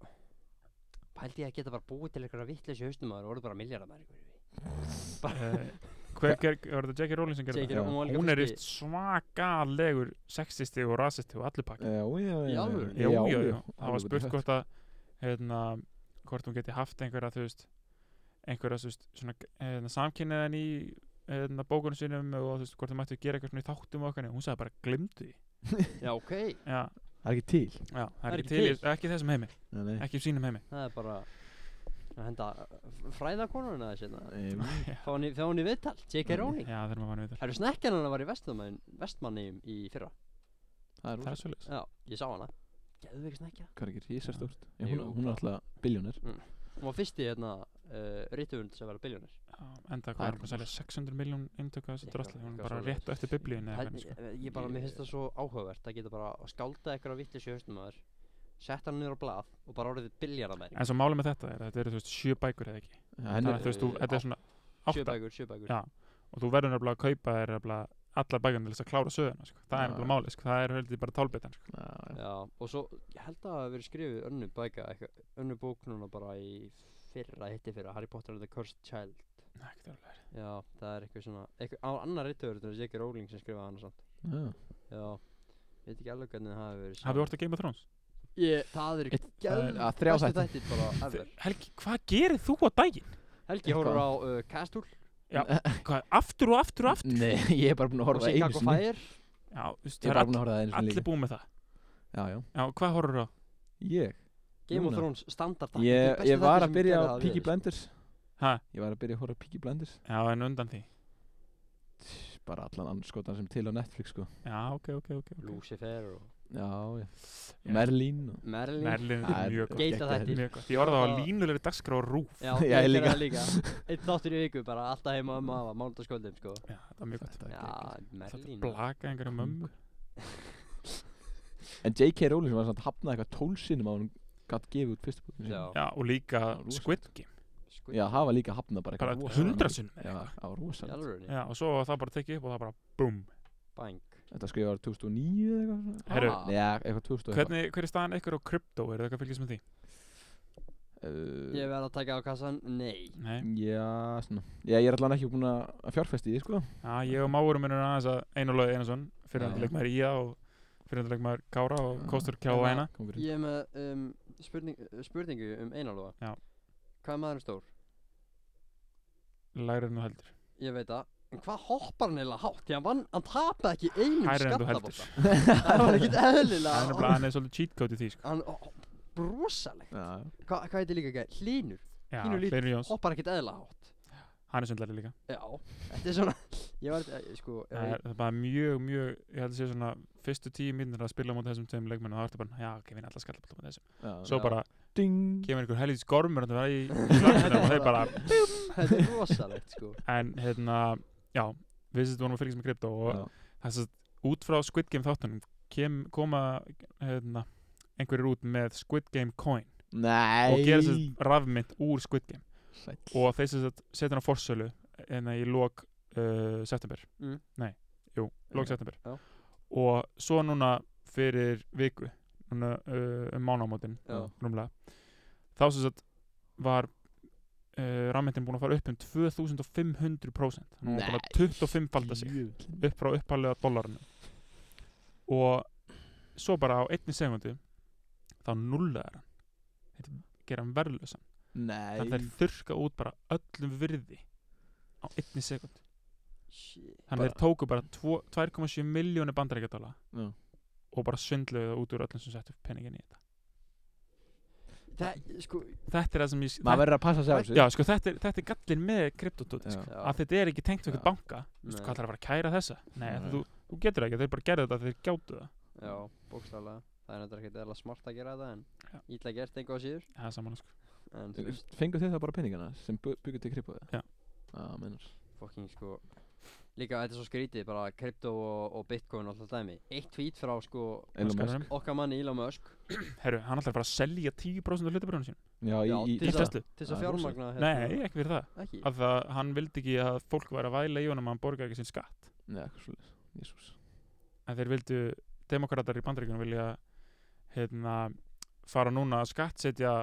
B: Pældi ég að geta bara búið til eitthvað vittleysi haustum að það voru bara miljardamæri
C: uh, Hver, hver, var þetta Jackie Rowling sem gerði
B: J.K.
A: Já.
C: það?
B: Rowling var líka
C: Hún er
B: fyrsti-
C: íst svakalegur sexisti og rasisti og allir pakka
A: Já, já, já,
B: Í
A: já
B: alvöru?
C: Jú, jú, jú
A: Alveg
C: Það
A: út
C: var
A: í
C: spurt sko.
A: hött.
C: hvort að hérna, hvort hún geti haft einhverja þú veist einhverja þú veist svona hérna, samkynniðan í hérna, bókunum sínum og þú veist hvort það mættu gera eitthvað svona í þáttum og okkar hún sagði bara glimtu því
B: Já, ok
C: Já,
A: Það er ekki til
C: já, það er ekki til, til. ekki í þessum heimi,
A: Nei, nei.
C: ekki í sínum heimi
B: Það er bara að henda fræðakonurinn aðeins hérna
A: Em,
B: Fá hann í- fá hann í viðtal J.K. Rowling
C: Já, þurfum að manna við þar
B: Herru, snekkjan hann var í Vestmanni í fyrra
A: Það er
C: Það
A: rosa.
C: er svolítið
B: Já, ég sá hana Geðu ekki snekkja
A: Hvað er ekki risastórt Já,
B: Jú,
A: Hún hún er alltaf biljónir
B: Hún var fyrsti hérna uh, rítuvund sem verða biljónir
C: Enda
A: Það
C: hvað
A: er
C: er hún að selja 600 miljón eindöku að þessu
B: Eitthvað-
C: drasli Hún
B: eitthvað
C: er bara rétt
B: svoleiðis.
C: eftir biblíunni eða hvernig, sko.
B: Ég bara, mér finnst það svo áhugavert að geta bara að skálda eitthvað vittlis í haustum að þér Sett hann niður á blað og bara orðið biljarðamæring
C: sko. En svo málið með þetta er að þetta eru þú veist sjö bækur eða ekki
A: Henni
C: Þannig
A: er
C: að þú veist, þú,
B: eh,
C: þetta er svona átta
B: Sjöbækur, sjöbækur
C: Já, og þú verður nefnilega að kaupa þér nefnilega allar bækurnar til þess að klára söguna sko. Það
A: Já.
C: er nefnilega málið, sko. það er heldur bara tálbitan sko.
A: Já, já.
B: Já, og svo, ég held að það hafi verið skrifið önnu bæka, eitthvað, önnu bók núna bara í fyrra, hitti fyrra, Harry Potter and the Cursed Child
C: Nei, ekkert alveg.
B: Já, það er eitthvað svona, eitthvað, á annar rítuður, þetta er J.K. Rowling sem skrifaði hann og samt
A: já
B: Já, ég veit ekki alveg hvernig það hafi verið
C: Hafið þú orðið að Game of Thrones?
B: Ég, það eru
A: Eitt-
B: geðveikt
A: að þrjá
B: bestu
A: þættir.
B: þættir bara ever
C: Helgi, hvað gerir þú á daginn?
B: Helgi horfur á uh, Castle
C: Hvað, aftur og aftur og aftur?
A: Nei, ég er bara búin að
B: og
A: horfa einu
B: Chicago
A: sinni
B: Fire
C: Já, þú veist,
A: Ég er
C: það er
A: bara búin
C: all,
A: að horfa það einu sinni
C: allir
A: líka
C: búin með það
A: Já, já
C: Já, hvað horfur á?
A: Ég
B: Game of
A: Núna.
B: Thrones standard
A: Ég, ég var að byrja á Peaky Blinders
C: ha,
A: Ég var að byrja að horfa Piggy Blinders
C: já, en undan því
A: Tss, Bara allan anskotan sem til á Netflix sko
C: já, ok, ok, ok, okay.
B: Lucifer og
A: Já, já
C: Já.
A: Merlín og
B: Merlin
C: Merlin, þetta
A: Það
C: er mjög gott
B: Geita
A: geggjaður.
B: þættir.
C: mjög gott, ég horfði á línulegri dagskrá á rúf
B: Já,
A: Já,
B: ég
A: ég
B: líka.
A: líka.
B: líka Eitt þáttur í viku bara alltaf heima um aða Mánudagskvöldum sko
C: já, það var mjög gott
A: Þetta er geggjað.
B: Já,
C: þetta
B: Merlin
C: blaka einhverju mömmu
A: En J.K. Rowling var samt hafnað eitthvað tólsinum á hún gætt gefið út fyrstu bókinu
B: Já,
A: sinni
C: já, og líka
A: Já, rosalegt.
C: Squid Game
B: sko
A: Já, hafa líka hafnað bara
C: bara
A: eitthvað
C: hundra sunnum
A: Já, það var
B: Í
A: rosalegt
B: alvörunni?
C: já, og svo var það bara tekið upp og það bara búm
B: Bang
A: Þetta skrifaði 2009 eða eitthvað svona.
C: Herru,
B: Ah.
A: Já, eitthvað 2000 og
C: hvernig, hver er staðan ykkur á krypto, er það eitthvað að fylgjast með því?
A: eitthvað
B: Ég
A: uh,
B: verð að taka á kassan, nei
C: nei,
A: Já, svona Já, ég er allan ekki búin að fjárfesti í því, sko
C: já, ég og máurum minnur aðeins að Einar Lóði Einarsson fyrir
A: Já.
C: hann leikmaður Ía og fyrir hann leikmaður Kára og
A: Já.
C: Kostur Kjála Eina
A: Kongurinn
B: Ég er með um, spurning, uh, spurningu um einalóa
C: Já.
B: Hvað er maðurinn stór?
C: lægri en þú heldur
B: Ég veit það En hvað hoppar hann eiginlega hátt? Því hann vann, hann tapaði ekki einum
C: Hærri en þú heldur
B: skattabóta Það var ekkert eðlilega
C: Það er nefnilega hann er svolítið cheat code í því sko.
B: Hann, ó, brosalegt
A: Já, já.
B: Hva, Hvað heitir líka gæði? Hlínur
C: Já,
B: Pínu lítill.
C: Hlynur Jóns,
B: Hoppar ekkert eðlilega hátt
C: hann er sundlæri líka
B: Já, þetta er svona Ég var, eh, sko ef
C: Það
B: ég-
C: er, það er bara mjög, mjög, ég held að sé svona fyrstu tíu mínir að spila mútið þessum tveim leikmenn og það ertu bara, já, ok, vinna alltaf skallabóta mútið þessum
A: já
C: Svo
B: Já.
C: bara
A: Ding
C: kemur einhver helvítis gormur þarna í í slagnum og þeir bara,
B: Þetta er rosalegt, sko
C: en hérna, já, við sýttum vorum að fylgjast með krypto og
A: Já.
C: þess að út frá Squid Game þáttunum kem, koma, hérna, einhverjir út með Squid Game coin
A: Nei
C: og gera þess að rafmynd úr Squid Game
A: Sæll.
C: og þeir sem sagt setja hann á forsölu en í lok uh, september
B: Mm.
C: nei, jú, lok
A: Já,
C: september
B: já.
C: og svo núna fyrir viku núna, uh, um mánamótin
B: Já.
C: rúmlega þá sem sagt var uh, rammyndin búin að fara upp um 2500% hún var búin að 25 falda sig
A: Jöfull.
C: upp frá uppalega dollarinu og svo bara á einni segundu þá nullaðar hann Þetta gera hann verðlösa
A: Nei
C: þannig að þeir þurrka út bara öllum virði á einni sekund
B: Shit
C: þannig að þeir tóku bara tvo- 2,7 miljónu bandarækjadala
A: Já.
C: og bara svindluðu það út úr öllum sem settu peningin í þetta
B: Það, sko
C: þetta er það sem ég
A: Maður
C: þetta,
A: verður að passa sig á þessu
C: já, sko, þetta, er, þetta er gallin með kryptotúti
A: Já.
C: sko. að þetta er ekki tengt við
A: Já.
C: eitthvað banka Vistu,
B: Nei.
C: hvað ætlar að fara að kæra þessa nei,
A: Nei.
C: þú, þú getur það ekki, þeir bara gerðu þetta þeir gjáttu það
B: Já, bókstálega Það er náttúrulega ekkert eða smart að gera þetta
C: Já.
B: en ítla gert einhvað síður
C: það er saman sko.
B: en þú veist,
A: Fengu þið það bara peningana sem bu- byggur til kripa
C: Já.
A: Já, mennur
B: fucking sko líka þetta er svo skrítið, bara krypto og, og bitcoin og alltaf dæmi Eitt tweet frá sko
A: Elon
C: Elon
A: Musk
C: Musk.
B: okkar manni Elon Musk
C: herru, hann ætlar að fara að selja 10% af hlutabrjónu sín
A: Já, í,
B: Já,
A: í,
B: til
C: í
B: þess að-
C: Tesla,
B: til þess að
A: Það er rosalegt.
B: fjármagna hérna,
C: nei, ekki fyrir það
B: Ekki?
C: að það, hann vildi ekki að fólk væri að væla í honum að hann borga ekki sinn skatt
A: Nei, eitthvað svolítið Jésús
C: en þeir vildu demokrater í bandaríkunum vilja hérna, fara núna að skattsetja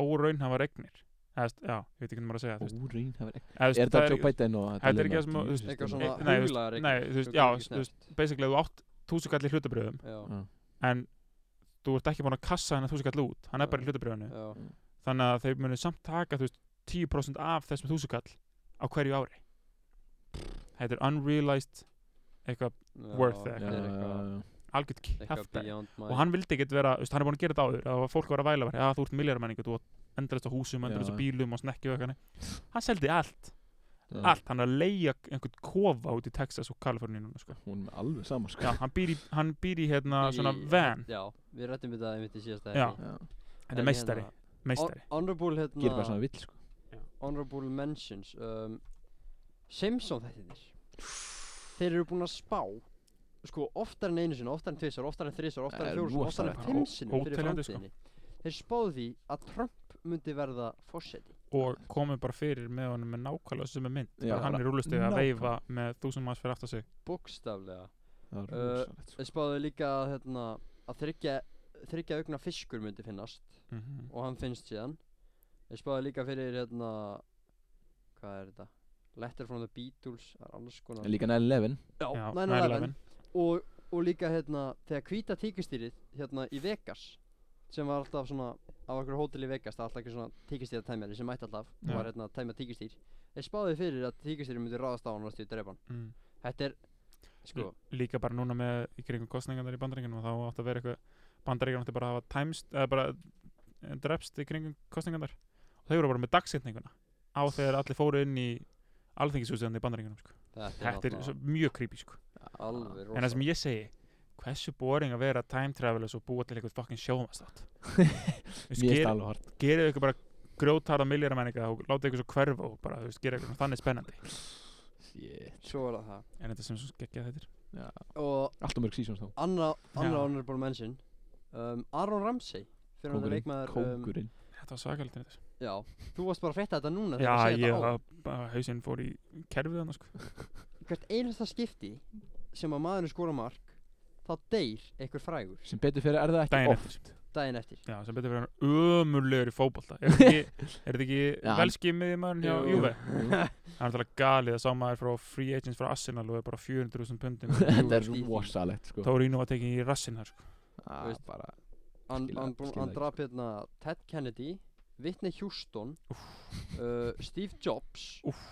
C: óraunhafa regnir Eðst, já, ég veit ekki hvernig maður að segja þú veist.
A: Úrín hefur ekki
C: Eða, þú veist,
A: Er þetta Joe Biden og
C: þetta er
A: Elon
C: ekki það sem
A: Musk?
C: að- þú veist,
B: Eitthvað
A: Jú,
B: svona
C: Eh, nei, þú veist-
B: huglaðar
C: nei, þú veist, já, þú veist, Mm.
B: veist
C: basically þú átt þúsugall í hlutabröðum
B: Já,
A: Já.
C: en þú ert ekki búin að kassa hennar þúsugall út hann er bara í hlutabröðinu
B: já,
C: þannig að þeir munu samt taka þú veist, 10% af þessum þúsugall á hverju ári þetta er unrealized eitthvað
B: já
C: Worth
B: þetta
C: it.
A: Já,
B: er
A: já,
B: eitthvað-
A: já.
C: algjört
A: Eh.
B: Eitthvað
C: kæft
B: beyond my
C: og hann vildi ekkert vera, þú veist, hann er búin að gera þetta áður að fólk var að væla bara, að þú ert milljarmenningu, þú átt endalist á húsum, endalist á
A: Já.
C: bílum og snekkju og eitthvað hann seldi allt,
A: Já.
C: allt, hann er að leia einhvern kofa út í Texas og Kaliforníu núna, sko.
A: Hún er alveg sama sko
C: Já, hann býr í, hann býr í hérna
B: Í-
C: svona van,
B: Já, við rættum þetta einmitt í síðasta
C: Já.
B: þætti.
A: Já.
C: þetta
B: En
C: er meistari
B: hérna,
C: meistari,
B: hon- Honorable hérna
A: Gerir bara svona vill sko
B: honorable mentions um, Simpson þættirnir þeir eru búin að spá sko oftar en einu sinni, oftar en tvisar, oftar en þrisar oftar en
A: Það er
B: fjórum, sinni, oftar en
A: rosalegt.
B: fimm
C: Ó-
B: sinni fyrir
C: óteljandi, sko.
B: framtíðinni þeir spáðu því að Trump myndi verða fórseti
C: og komið bara fyrir með honum með nákvæmlega sem er mynd,
A: Já,
C: bara hann
A: bara
C: er rúlustið að
A: nákvæmlega.
C: veifa með þúsund manns fyrir aftar sig
B: bókstaflega
A: Það er
B: Uh,
A: rosalegt sko
B: þeir spáðu líka að, hérna, að þryggja þryggja augna fiskur myndi finnast
C: mm
B: og hann finnst síðan þeir spáðu líka fyrir hérna hvað er þetta? Letter from the Beatles það er annars konar
A: En líka 9-11
B: Já,
C: já,
B: 9/11.
C: 9/11.
B: og, og líka hérna þegar hvíta tíkustýrið hérna í Vegas sem var alltaf svona á einhverju hótel í Vegas það var alltaf ekki svona tíkustýra tæmjari sem mætti alltaf og
C: Já.
B: var hérna að tæmja tíkustýr þeir spáði fyrir að tíkustýri myndi ráðast á hann og stíðu drepan
C: Mm.
B: þetta er sko
C: líka bara núna með í kringum kostningarnar í bandaríkjunum og þá átt að vera eitthvað bandaríkjunum átti bara að hafa tæmst eða bara eh, drepst í kringum kostningarnar og þau voru bara með dagsetninguna á þegar allir fóru inn í alþingisústöðan í bandaríkunum sko. þetta er
B: náttúrulega
C: svo mjög creepy sko.
B: alveg
C: en það sem ég segi hversu boring að vera time travelers og búa til eitthvað fucking sjómastátt
A: Mér er alveg hort
C: gerið ykkur bara grjótarða milljaramennika og láta ykkur svo hverfa og bara, þú veist, gera ykkur þannig spennandi
A: Shit
B: svo er það það
C: en þetta er sem svo geggja þetta
A: Já.
B: og
A: Allt og mörg seasons þá
B: annar annar
C: Já.
B: honorable mention um, Aron Ramsey fyrir hann
A: Kókurinn
B: leikmaður um,
A: Kókurinn
C: þetta var svakalegt þetta
B: já þú varst bara að frétta þetta núna
C: já,
B: þegar ég
C: ég
B: segi þetta á
C: var bara, hausinn fór í kerfið hann sko.
B: hvert einasta skipti sem að maðurinn skora mark þá deyr einhver frægur
A: Sem betur fyrir er það ekki
C: Daginn
A: oft
B: daginn eftir
C: já, sem betur verið hann ömurlegur í fótbolta er þetta ekki, er þetta
A: Já,
C: ekki
A: hann-
C: velskið með maður hjá
B: Jú.
C: Júve það er náttúrulega galið að sá maður frá free agents frá Arsenal og er bara 400.000 pundin
A: Þetta er
B: Jú, skýt.
A: rosalegt sko
C: Tórinu var tekin í rassin þar sko.
A: Ah,
B: veist.
A: bara
B: hann,
A: Skil það-
B: hann,
A: skil
B: bú-
A: það
B: hann
A: ekki,
B: draf hérna Ted Kennedy Whitney Houston uh, Steve Jobs
C: Úff.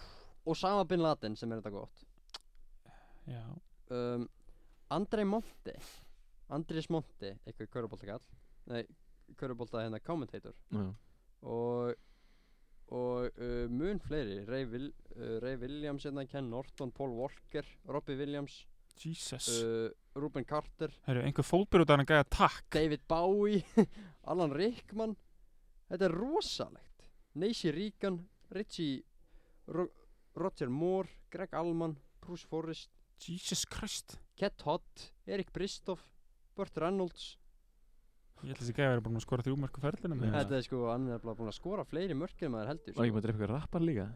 B: og sama Bin Laden sem er þetta gott
C: já,
B: um, Andrei Monti Andrés Monti, eitthvað körubóltakall nei, körubólta hérna commentator
A: já.
B: og og uh, mun fleiri Ray, Vil, uh, Ray Williams hérna, Ken Norton, Paul Walker Robbie Williams
C: jesus uh,
B: uh, Ruben Carter,
C: Heru, einhver fótbyr út að hann gæja takk
B: David Bowie Alan Rickman þetta er rosalegt Nancy Reagan, Richie Ro Roger Moore, Greg Allman Bruce Forrest,
C: jesus christ
B: Cat Hodd Erik Bristoff, Burt Reynolds
C: ég ætla þessi gæja að vera búin að skora þrjúmarku ferðinu
A: Já.
B: þetta er sko, hann er bara búin að skora fleiri mörk en maður heldur
A: Var ekki
B: sko.
A: maður að drepa ykkur rappar líka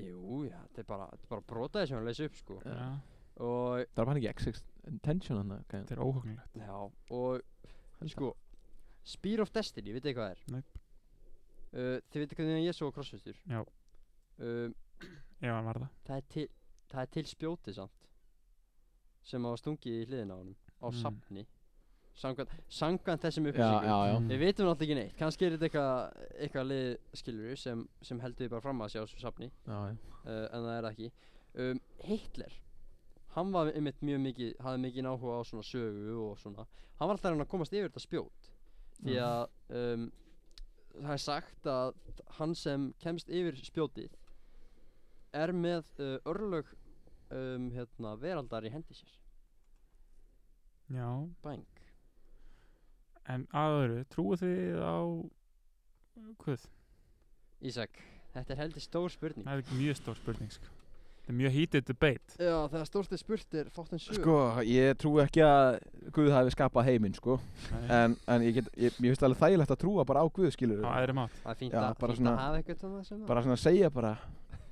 B: jú, já, þetta er bara, þetta er bara brotaði sem hann leysi upp sko.
A: Já.
C: þetta
B: og,
A: Drapa hann ekki XX Intention hann okay.
C: er óhugnilegt
B: já, og sko, Spear of Destiny, vitið þið hvað það er?
C: Nei.
B: Uh, þið vitið hvernig ég svo crossfistur?
C: Já.
B: Um,
C: ef hann var það
B: það er til, það er til spjóti samt sem hafa stungið í hliðina á honum á
C: Mm.
B: safni samkvæmt, samkvæmt þessum
A: Já, já,
B: upplýsingum
A: já
C: Mm.
B: við vitum náttúrulega ekki neitt kannski er þetta eitthvað eitthvað lið skilur sem, sem heldur því bara fram að sjá þessu safni
A: Já, já
B: uh, en það er það ekki um, Hitler hann var einmitt mjög mikið hafði mikið áhuga á svona sögu og svona hann var alltaf að reyna að komast yfir þetta spjót því að um, það er sagt að hann sem kemst yfir spjótið er með uh, örlög um, hérna, veraldar í hendi sér
C: já,
B: bang
C: en aðöru, trúið þið á hvað?
B: Ísak, þetta er heldur stór spurning
C: Það er mjög stór spurning sko. Þetta er mjög heated debate
B: Já, þegar stórtið spurt er fátt en
A: Sko, ég trúi ekki að Guð hafi skapað heiminn sko
C: Nei,
A: En, en ég, get, ég, ég finnst alveg þægilegt að trúa bara á Guð skilur
C: á aðri mátt
B: Það er fínt,
A: Já,
B: að,
A: bara
B: fínt
A: svona-
B: að hafa eitthvað þannig sem það
A: Bara svona að segja bara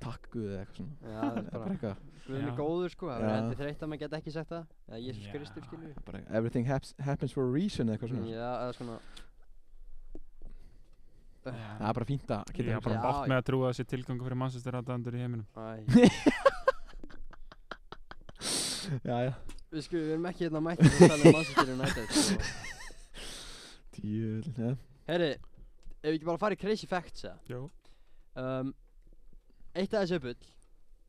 A: Takk Guð eða eitthvað svona
B: Já, það er
A: Bara
B: bara
A: eitthvað
B: Guðin
C: Já.
B: er góður sko, það er
A: Já.
B: heldur þreytt að maður geta ekki sagt það Eða Jésús
C: Já.
B: Kristur skilur við.
A: bara, Everything haps, happens for a reason eða eitthvað svona
B: Já, eða svona
A: Það er bara fínt að
C: Ég
A: geta
C: er bara
B: Já,
C: bátt
B: já.
C: með að trúa þessi tilgangu fyrir Manchester aðdandur í heiminum
B: Æ,
A: Já, já
B: við sko, við erum ekki hérna mættið að tala um Manchester United sko.
A: Djöl, já
B: Herri, ef við ekki bara farið crazy facts eða
C: Jó
B: um, Eitt af þessu uppull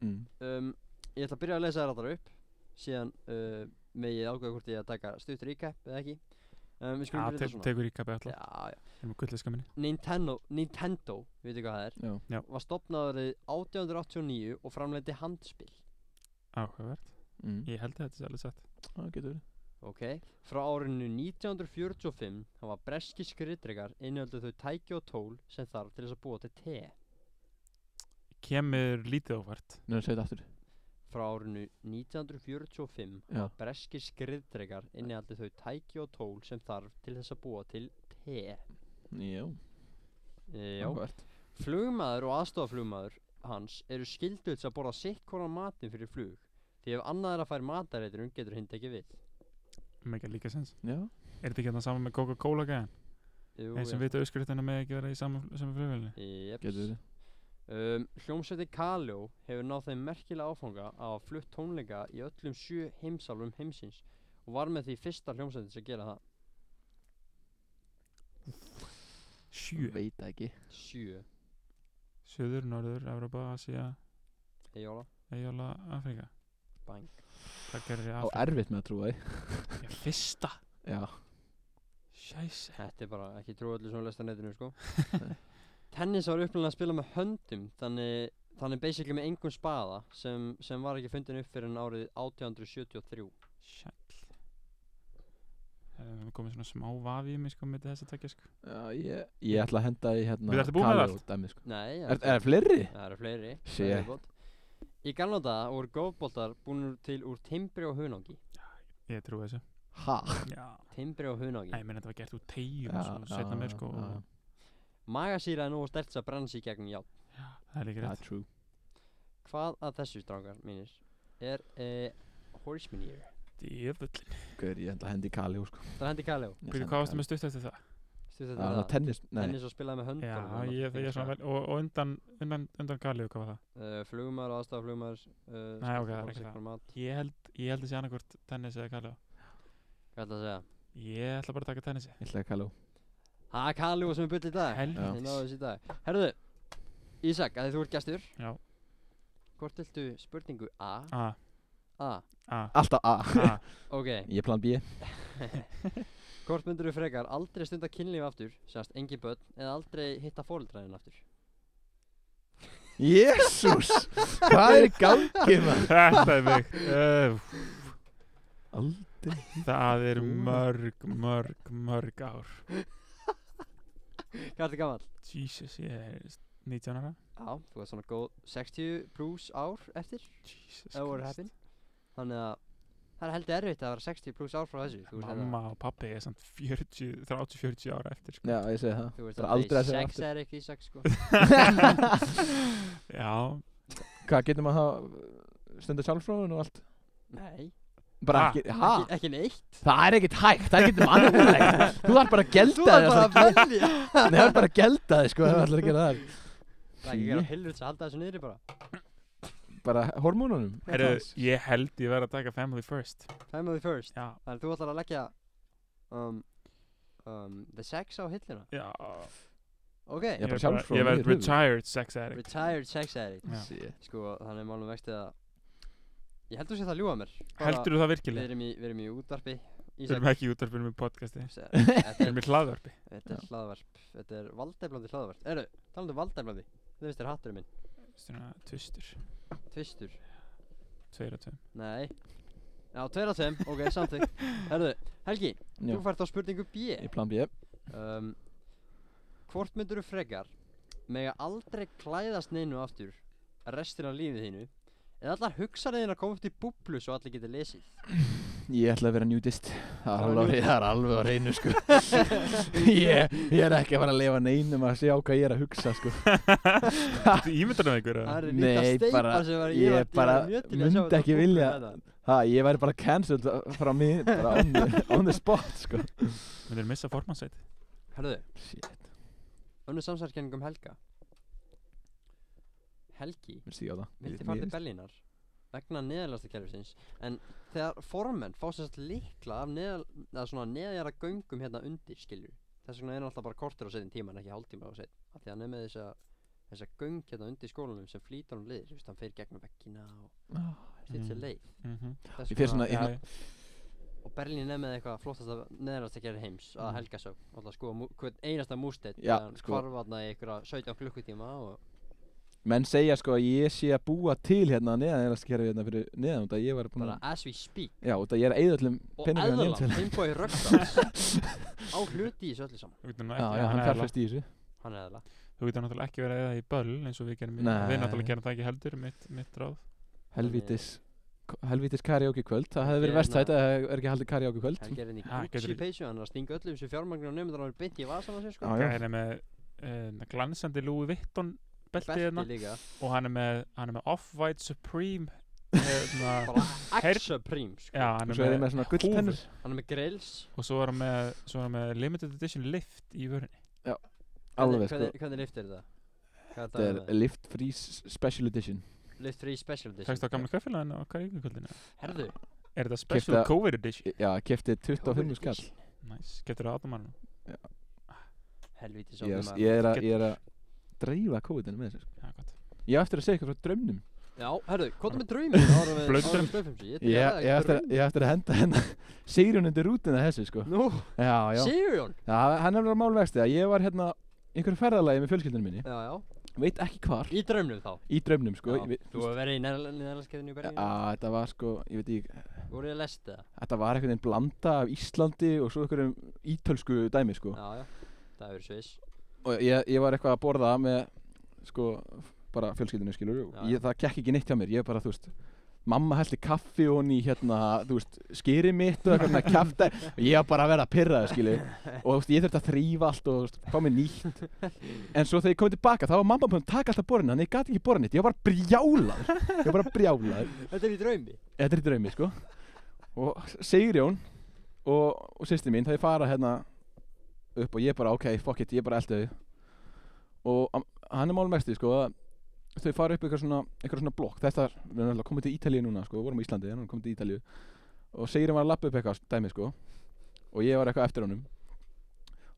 A: mm.
B: um, Ég ætla að byrja að lesa þér allar upp Síðan uh, með ég ágæða hvort ég að taka stutt recap eða ekki um, Við
C: Já,
B: skulum byrja
C: te
B: þetta svona
C: tekur í kappi alltaf
B: Já, já
C: Erum við gulliska minni
B: Nintendo, Nintendo, við veitum hvað það er
A: Já
B: Var stopnaðurðið 1889 og framleiti handspil
C: Áhugavert
A: mm.
C: Ég held að þetta er alveg satt
A: Það getur verið
B: Ok, frá árinu 1945 hafa breski skriðdregar innöldu þau tæki og tól sem þarf til þess að búa til te
C: Kemur lítið óvart
A: Nú, segðu þetta aftur
B: Frá árinu 1945
A: Já
B: breski skriðdregar innöldu þau tæki og tól sem þarf til þess að búa til te
A: Já
B: E, Já,
A: áhugavert.
B: flugmaður og aðstofaflugmaður hans eru skilduð til að borða sitt konar matin fyrir flug því ef annað er að færa matareitrun getur hinn ekki við
C: Mega um líka sens
A: Já
C: Er þetta ekki hérna saman með Coca-Cola gæðan?
B: Jú,
C: Eins sem
B: já.
C: veit að auskriðtina með ekki vera í saman flugvelni
B: Jeps.
A: Getur verið
B: Um, hljómsveiti Kaljó hefur náð þeim merkilega áfanga að hafa flutt tónleika í öllum sjö heimsálfum heimsins og var með því fyrsta hljómsveitin sem gera það
C: Sjö
A: Veit það ekki
B: sjö
C: Suður, Norður, Evropa, Asia,
B: Eyjóla
C: Eyjala, Afrika
B: Bang
C: Hvað gerir ég
A: Á
C: Afrika?
A: erfitt með að trúa því
C: Ég fyrsta
A: Já
C: Sjæs
B: Þetta er bara ekki trú öllu sem lesta netinu sko tennis var upplunnið að spila með höndum þannig, þannig basically með engum spaða sem, sem var ekki fundin upp fyrir en árið 1873
C: Sjæll Það komið svona smá vafi í mig sko með þess að tekja sko
A: Já, ég, ég ætla að henda í hérna
C: Við ertu búin með
A: Kaleo
C: allt?
A: dæmi, sko.
B: Nei,
A: Er, er það fleiri?
B: það eru fleiri það eru
A: Shit.
B: viðbót. Í gamla daga voru gófboltar búinur til úr timbri og hunangi
C: Ég trúi þessu
A: Ha?
C: Já
B: timbri og hunangi
C: Nei, menn þetta var gert úr tegjum
A: Já,
C: ja, svo setna
A: já,
C: mér sko
A: já.
C: og-
B: magasýra er nú að stelsa bransi í gegnum ját
C: Það er líka
A: Það
C: rétt
A: er true
B: hvað að þessu strákar mínir er eh, horseman ear
C: Djöfullin
A: Guður, ég ætla að henda í Kaleo sko
B: það er hendi Kaljó
C: Býtu, hvað varstu með stutt eftir það?
B: stuð
A: Það var tennis, nei
B: tennis og spilaði með höndum
C: Já, ég, ég er svona vel Og, og undan, undan, undan Galíu, hvað var það?
B: uh, flugumar, aðstaflugumar uh,
C: Nei, ok, það er ekki það.
B: mat,
C: Ég held, ég held þessi annarkvort tennis eða Galíu
B: Hvað ætla að segja?
C: Ég ætla bara að taka tennisi
A: Ég ætla að Kaleo
B: Ha, Kalu sem er bull í dag Þið náðu
C: Helvítis
B: þessu í dag Herðu, Ísak, að þið þú ert gestur
C: Já.
B: Hvort viltu spurningu A?
C: A,
B: A,
C: a,
A: Alltaf A
C: a
B: ok
A: Ég plan B
B: Hvort myndur þú frekar aldrei stunda kynlíf aftur Sérst, engin börn Eða aldrei hitta fóreldræðin aftur
A: Jésús Hvað er í gangi maður?
C: Þetta er mig uh,
A: Aldrei
C: Það er
A: Þú-
C: mörg, mörg, mörg ár
B: Hvað er þetta gamall?
C: Jesus, ég er 19 ára
B: Já, þú ert svona góð 60 pluss ár eftir
C: Jesus
B: Ef þú voru
C: Christ.
B: heppin Þannig að Það er heldur erfitt að vera 60 pluss ár frá þessu Þú ert hérna-
C: Mamma og pappi er samt 40, 30-40 ára eftir sko.
A: Já, ég segi það
B: Þú ert
A: Bara
B: aldrei
A: aldrei að segja
B: sex
A: aftur
B: er ekki Ísak sko
C: Já,
A: Hvað getur maður þá Stunda sjálfsfróðun og allt
B: Nei,
A: Bara
C: Ha?
A: ekki Ha?
B: ekki, ekki neitt
A: Það er ekkert hægt Það er ekkert mannlegt Þú þarf bara að gelda
B: Þú
A: þig
B: er
A: að
B: bara
A: fara að
B: að velja
A: Nei, það er bara að gelda þig sko Það er allir að gera það
B: Það er ekki að gera heilvölds að halda þessu niðri bara
A: Bara hormónunum
C: heru, ég held ég verð að taka family first
B: Family first
C: Já,
B: Þannig að þú ætlar að leggja um, um, The sex á hillina
C: já
B: Ok,
A: Já,
C: Ég
A: bara
C: er bara-
A: sjálfsfróður
C: Ég
A: í
C: verð
A: höfuðið.
C: retired sex addict
B: retired sex addict
C: Já.
A: Shit.
B: Sko, þannig er málum vextið að Ég heldur sér það að ljúga mér
C: Heldur þú það
B: Við
C: virkilega?
B: erum í, við erum í útvarpi
C: Við erum ekki í útvarpinu með podcasti
B: Se- Þetta
C: Við
B: er,
C: erum í hlaðvarpi
B: þetta er hlaðvarp Þetta er valdeflandi hlaðvarp Eru, talandi um valdeflandi Þú veist þér hatturinn minn
C: Svona tvistur,
B: Tvistur
C: tveir og tveim
B: Nei Já, tveir af þeim Ok, samþykkt Herðu, Helgi
A: Já.
B: Þú fært á spurningu B
A: Í plan B
B: um, Hvort myndur þú frekar mega aldrei klæðast neinu aftur restina af lífið þínu eða allar hugsanir þín að koma upp til búblu svo allir geti lesið
A: Ég ætla að vera nudist Það er
B: Það er
A: alveg,
B: nudist.
A: það er alveg á reynu sko ég, ég er ekki að fara að lifa neinum að sjá hvað ég er að hugsa sko
C: Þú ímyndar það ykkur
B: Það
C: að
B: eru
A: Nei,
B: líka steipar
A: bara-
B: sem var
A: ég
B: ég var,
A: bara
B: ég var mjög til í að sjá
A: myndi
B: þetta
A: ekki
B: búblu
A: vilja-
B: hérna.
A: ha, Ég væri bara cancelled frá mig bara on, the- on the spot sko
C: Myndir missa formansæti
B: Herðu,
A: Shit,
B: önnu samsarkenning um Helga Helgi
A: mér stíg á það
B: vildi
A: Mér-
B: fara til
A: mér-
B: Berlínar vegna neðalasta kerfisins en þegar formenn fá sem sagt líkla af neðal, eða svona neðjara göngum hérna undir skilju þess vegna er hann alltaf bara kortur á setjum tíma en ekki hálftíma á setjum af því að hann er með þessa, þessa göng hérna undir skólanum sem flýtar um liðir veist, hann fer gegnum vekkina og
A: Ah,
B: sitt sér
C: Mm.
B: leið
C: Mhm.
A: Ég
B: Þess
A: fer
B: vegna-
A: svona-
C: Já, já.
B: og Berlín er með eitthvað flottasta neðalasta kerfi heims að
A: Mm.
B: helgasög alltaf sko hvern einasta músteinn
A: Já,
B: hann
A: sko.
B: hvarfatna í einhverja 17 klukkutíma og
A: Menn segja sko að ég sé að búa til hérna neðan er að skera hérna fyrir neðan út að ég væri búin
B: bara
A: að
B: as we speak
A: Já, út að ég er að eyða öllum
B: og
A: peningum hérna
B: eðlan
A: neðan til
B: Finnbogi Röggsdals á hluti í þessu öllu saman
C: Þú getur nú
A: Já,
C: ekki-
A: já, hann
C: er
A: fjárfest í þessu
B: hann er eðla
C: lá- Þú getur náttúrulega ekki verið að eða í böll eins og við gerum í-
A: Nei.
C: Við náttúrulega gerum það ekki heldur, mitt, mitt ráð
A: Helvítis Helvítis karaoke kvöld Það hefði
B: Ég
A: verið verst
B: hérna-
A: þetta að það er ekki haldið karaoke kvöld
B: hann gerir henni
C: Ha,
B: í
C: getur
B: Gucci
C: ekki-
B: peysu hann er að stinga öllum þessu fjármagnu og nefnir hann er beint í vasan á sér sko
A: Já, já.
C: Hann er með uh, glansandi Louis Vuitton beltið hérna
B: belti líka
C: og hann er með, hann er með Off-White Supreme hérna,
B: bara
C: Heyrn-
B: extra prím sko
C: já,
A: Og
C: hann er
A: svo er
C: með,
A: ég með svona gullpennur
B: hann er með grills
C: og svo er hann með, svo er hann með limited edition lift í vörinni
A: Alveg sko
B: Hvernig- hvernig hvernig lift er þetta? Hvað
A: Þetta
B: er
A: er Lift Free S- Special Edition
B: það? Lift free special
C: Takst
B: edition
C: á gamla kaffélaginu og hvað er ykkurkvöldinu?
B: Herðu
C: Er þetta special
A: Keypta-
C: COVID edition?
A: Í- Já, kefti 25
B: Covid
A: skall
B: edition.
C: Nice, getur það aðdómanum?
B: Helvíti
A: Ég
B: sáttum
A: er-
B: að
A: ég er að-
C: Getur-
A: ég er að dreifa kóðinu með þessu sko.
C: Já, gott
A: Ég á eftir að segja eitthvað frá draumnum
B: Já, herðu, hvað er með draumir? Ára
C: Blautur
B: með
C: draumur.
B: draumfum
A: Ég
B: sér
A: ég á eftir að- ég á eftir að henda hennar Sigrun undir rútina þessu sko
B: Nú,
A: Já, já
B: Sigurjón
A: Já, hann er verið málvexti að ég var hérna einhverju ferðalagi með fjölskyldunum minni
B: já, já
A: veit ekki hvar
B: Í draumnum þá
A: í draumnum sko
B: Já,
A: ég veit-
B: Þú hefur verið í neðalanskeiðinu í
A: Já,
B: Berlín
A: þetta var sko, ég veit ekki
B: Voruð þið lest það?
A: Þetta var einhvern veginn blanda af Íslandi og svo einhverjum ítölsku dæmi sko
B: Já, já Það hefur verið sviss
A: Og ég, ég var eitthvað að borða með sko, bara fjölskyldinu skilur
B: Já, já.
A: ég, Það gekk ekki neitt hjá mér, ég bara, þú veist Mamma hælti kaffi og hún í hérna, þú veist, skýri mitt og eitthvað svona kjafta og ég var bara að vera að pyrra það, skilju og þú veist, ég þurfti að þrýfa allt og þú veist, fá mér nýtt en svo þegar ég kom tilbaka þá var mamma búin að taka alltaf borðinu, þannig að ég gati ekki borðinu ég var bara brjálaður, ég var bara brjálaður
B: Þetta er í draumi
A: þetta er í draumi sko og Sigrjón og, og sýsti mín þau fara hérna upp og ég bara ok, fuck it, ég bara eldi þau og am- hann er málum mesti sko að þau fara upp eitthvað svona, eitthvað svona blokk þetta er, við erum alltaf komið til Ítalíu núna sko, við vorum á Íslandi en hann komið til Ítalíu og Sigrjón var að lappa upp eitthvað dæmi sko og ég var eitthvað eftir honum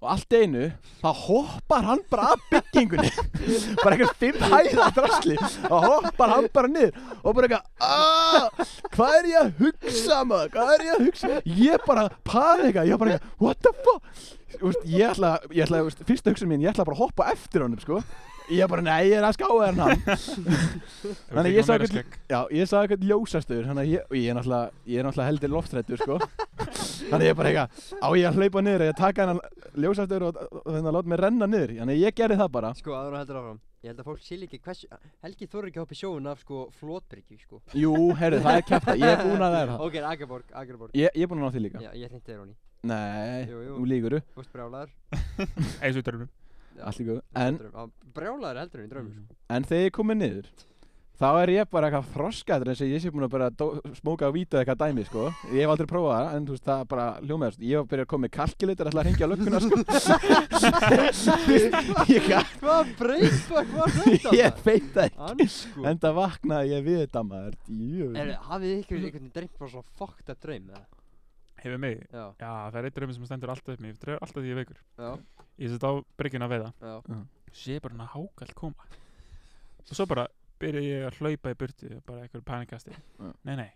A: og allt í einu þá hoppar hann bara af byggingunni bara eitthvað fimm hæða drasli og hoppar hann bara niður og bara eitthvað "Ah, hvað er ég að hugsa maður hvað er ég að hugsa ég bara panika ég bara eitthvað what the fuck Úst, ég ætla ég ætla úst, fyrsta hugsun mín ég ætla bara að hoppa á eftir honum sko ég bara nei ég er að skáða hann Þannig ég sá
C: ekki
A: hvern- Já, ég sagði eitthvað ljósastur Þannig að ég, og ég er náttúrulega, ég er náttúrulega heldur loftrættur sko. Þannig að ég er bara eitthvað Á ég að hlaupa niður, á ég að taka hennar ljósastur og, og, og þannig að láta mig renna niður Þannig að ég gerði það bara
B: Sko, aðra heldur áfram Ég held að fólk sé líka hversu Helgi þorri ekki að hoppa í sjóun af sko flótbyrgju sko
A: Jú, heyrðu, það er kæft Ég er búin að vera það
B: Ok, Agaborg, Agaborg
A: Ég, ég er búin að ná því líka
B: Já, ég hrinti þér honi
A: Nei,
B: Jú, jú.
A: nú lígur
B: Þú veist brjálæður
C: eins og dröfnum
A: Allt í góðu en, Mm.
B: Brjálæður heldur en í draumi sko
A: en þegar ég komið niður Þá er ég bara eitthvað froskaður eins og ég sé búin að bara dó- smóka og víta eitthvað dæmi, sko. Ég hef aldrei prófað það, en þú veist, það bara hljómaður, sko. Ég var að byrja að koma með kalkileitur, ætla að hringja á lögguna, sko. ég gat
B: Hvað breyst, hvað var þetta
A: ég veit það ekki
B: Ansku
A: en það vaknaði ég við þetta maður
B: Er,
A: djöfull.
B: hafið þið ykkur einhvern dreymt bara svona fucked up draum eða?
C: hefur mig
B: Já,
C: já það er einn dröfum sem stendur alltaf upp mér ég dröf alltaf því ég er veikur
B: já,
C: ég set á bryggjun að veiða
B: já
C: sé bara hann að hákald koma og svo bara byrja ég að hlaupa í burtu bara eitthvað panikasti
A: Já.
C: nei nei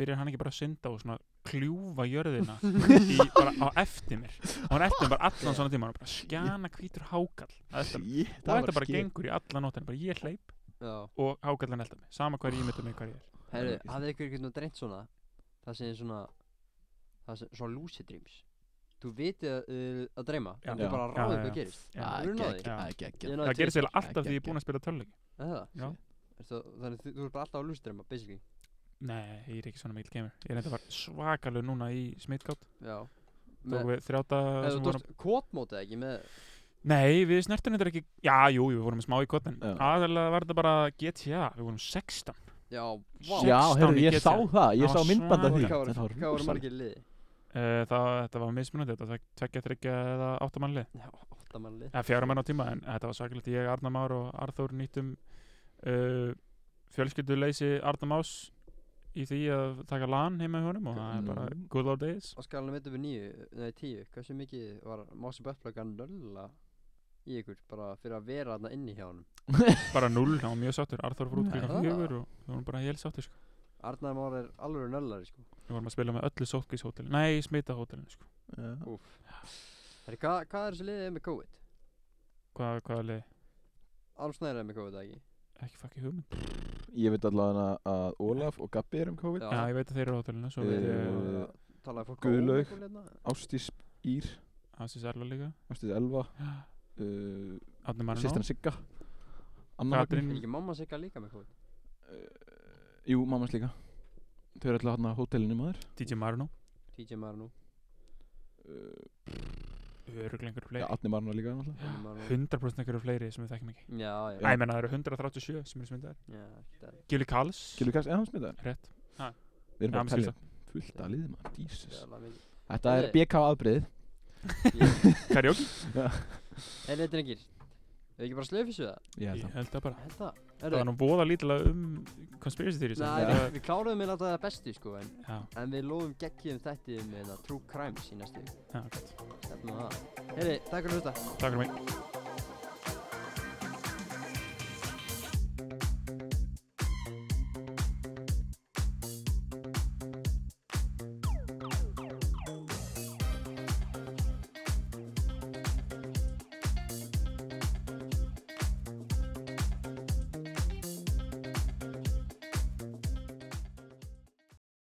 C: byrjar hann ekki bara að synda og svona kljúfa jörðina í, bara á eftir mér og hann eftir mér bara allan svona tíma hann bara skjana hvítur hákall að eftir mér.
A: Shit,
C: og þetta bara
A: skýr.
C: gengur í alla nóttina bara ég hleyp
B: Já,
C: og hákallan elda mig sama hvað ég mynda mig hvað ég er
B: herru,
A: ekki
B: hafið ykkur einhvern dreymt svona Það sem er svona Það sem, svona lucid dreams Þú vitið að, uh, að dreyma
C: Já.
B: En þú
A: Já.
B: bara
C: Já,
B: ráðið
C: já,
B: hvað
C: já.
B: gerist
C: Já.
A: Það er
B: Þú eru náðið
A: geggjað,
B: Já.
A: það er
B: Ég
A: geggjað.
B: náði
C: það gerir
B: tvisvar.
C: sér alltaf því ég er búinn að spila tölvleiki
B: Er Það
C: Já.
B: Ertu, Þannig þú, þú er bara alltaf að lucid dreyma, basically
C: nei ég er ekki svona mikil gamer ég er enda var svakalur núna í smitgátt
B: Já
C: tók
B: Með,
C: við þrjáta
B: eða
C: sem
B: þú
C: vorum-
B: tókst kótmótið ekki með
C: Nei, við snertum þetta ekki Já, jú, við vorum smá í kotnin
A: Já.
C: Aðalega var þetta bara GTA Við vorum 16
B: Já, vá
C: Wow.
A: já, heyrðu,
C: 16 í
A: ég
C: GTA.
A: sá það ég
C: Það
A: sá
C: var
A: myndband af því
C: svakalegt.
B: Hvað voru-
A: Þetta var
B: Hvað voru
A: rosalegt.
B: margir í liði?
C: uh, það, Þetta var mismunandi Þetta var tvekja, þryggja eða áttamannli
B: Já, óttamann lið
C: Eða fjára menn Eh, á tíma En þetta var svakalegt Ég, Arnar Már og Arþór nýttum uh, Fjölskylduleysi Arnar Más Í því að taka LAN heima í honum Og það er bara
A: Mm.
C: good old days
B: á skalanum 1 við 9, nei 10 hversu mikið var Mási Böttblögg að nölla í ykkur bara fyrir að vera þarna inni hjá hann
C: Bara 0, það var mjög sáttur Arþór fór út
A: Nei.
C: klukkan fjögur Og við vorum bara hél sáttur sko.
B: Arnar Már er alveg nöllari sko
C: Við vorum að spila með öllu sótkvíshótelin Nei, smitahótelin sko.
A: Já.
B: Herri, hva, hvað er þessi liðið með COVID?
C: Hvað, hvað er leið?
B: Almsnæri er með COVID, eða ekki?
C: Ekki fakki hugmynd
A: ég veit allavega að Ólaf og Gabi er um COVID
C: Já, ég veit að þeir eru á hótelinu Svo
A: Eh,
C: veit ég
B: Það er að Talaði fólk
A: Guðlaug.
B: Ómikron hérna?
A: Ástís Ír,
C: Asis Erla líka
A: Ástís Elva uh,
C: Átni Marino
A: sýstina Sigga Anna
C: Katrín
B: Er ekki mamma sigga líka með COVID?
A: Magnús- jú, mammas líka þau eru alltaf hann á hótelinu maður
C: DJ Marino
B: TJ Marnú
A: uh,
C: Öruglega einhverju
A: ja,
C: fleiri
A: Átni Marna líka náttúrulega.
C: 100% einhverju fleiri sem við þekkjum ekki
B: Já, já,
A: Já.
C: Æ, menna það eru 137 sem eru smitað
B: já ekkert að-
C: Gilly Kalls
A: Gylfi Kast, er hann smitaður?
C: Rétt
A: Við erum
C: Já,
A: bara
C: hann
A: að tellja fullt að liði maður, Jesus
B: Fjalar mikið.
A: Þetta er
B: Heyrðu.
A: BK afbrið
B: Ég-
C: Karaoke
B: Herri, drengir Hefur ekki bara slöfísu það?
A: Ég held
C: Ég
A: að
C: held það bara
B: Þetta
C: Það var
B: Herri,
C: nú voða lítilega um conspiracy theories
B: Nei,
A: Já.
B: við,
C: það-
B: við kláruðum með alltaf það bestu sko en
C: Já,
B: En við lofum geggjum þetta með True Crimes í næstu
C: já, gott
B: Stefnum að það Heyri, takk fyrir að hlusta
C: Takk fyrir mig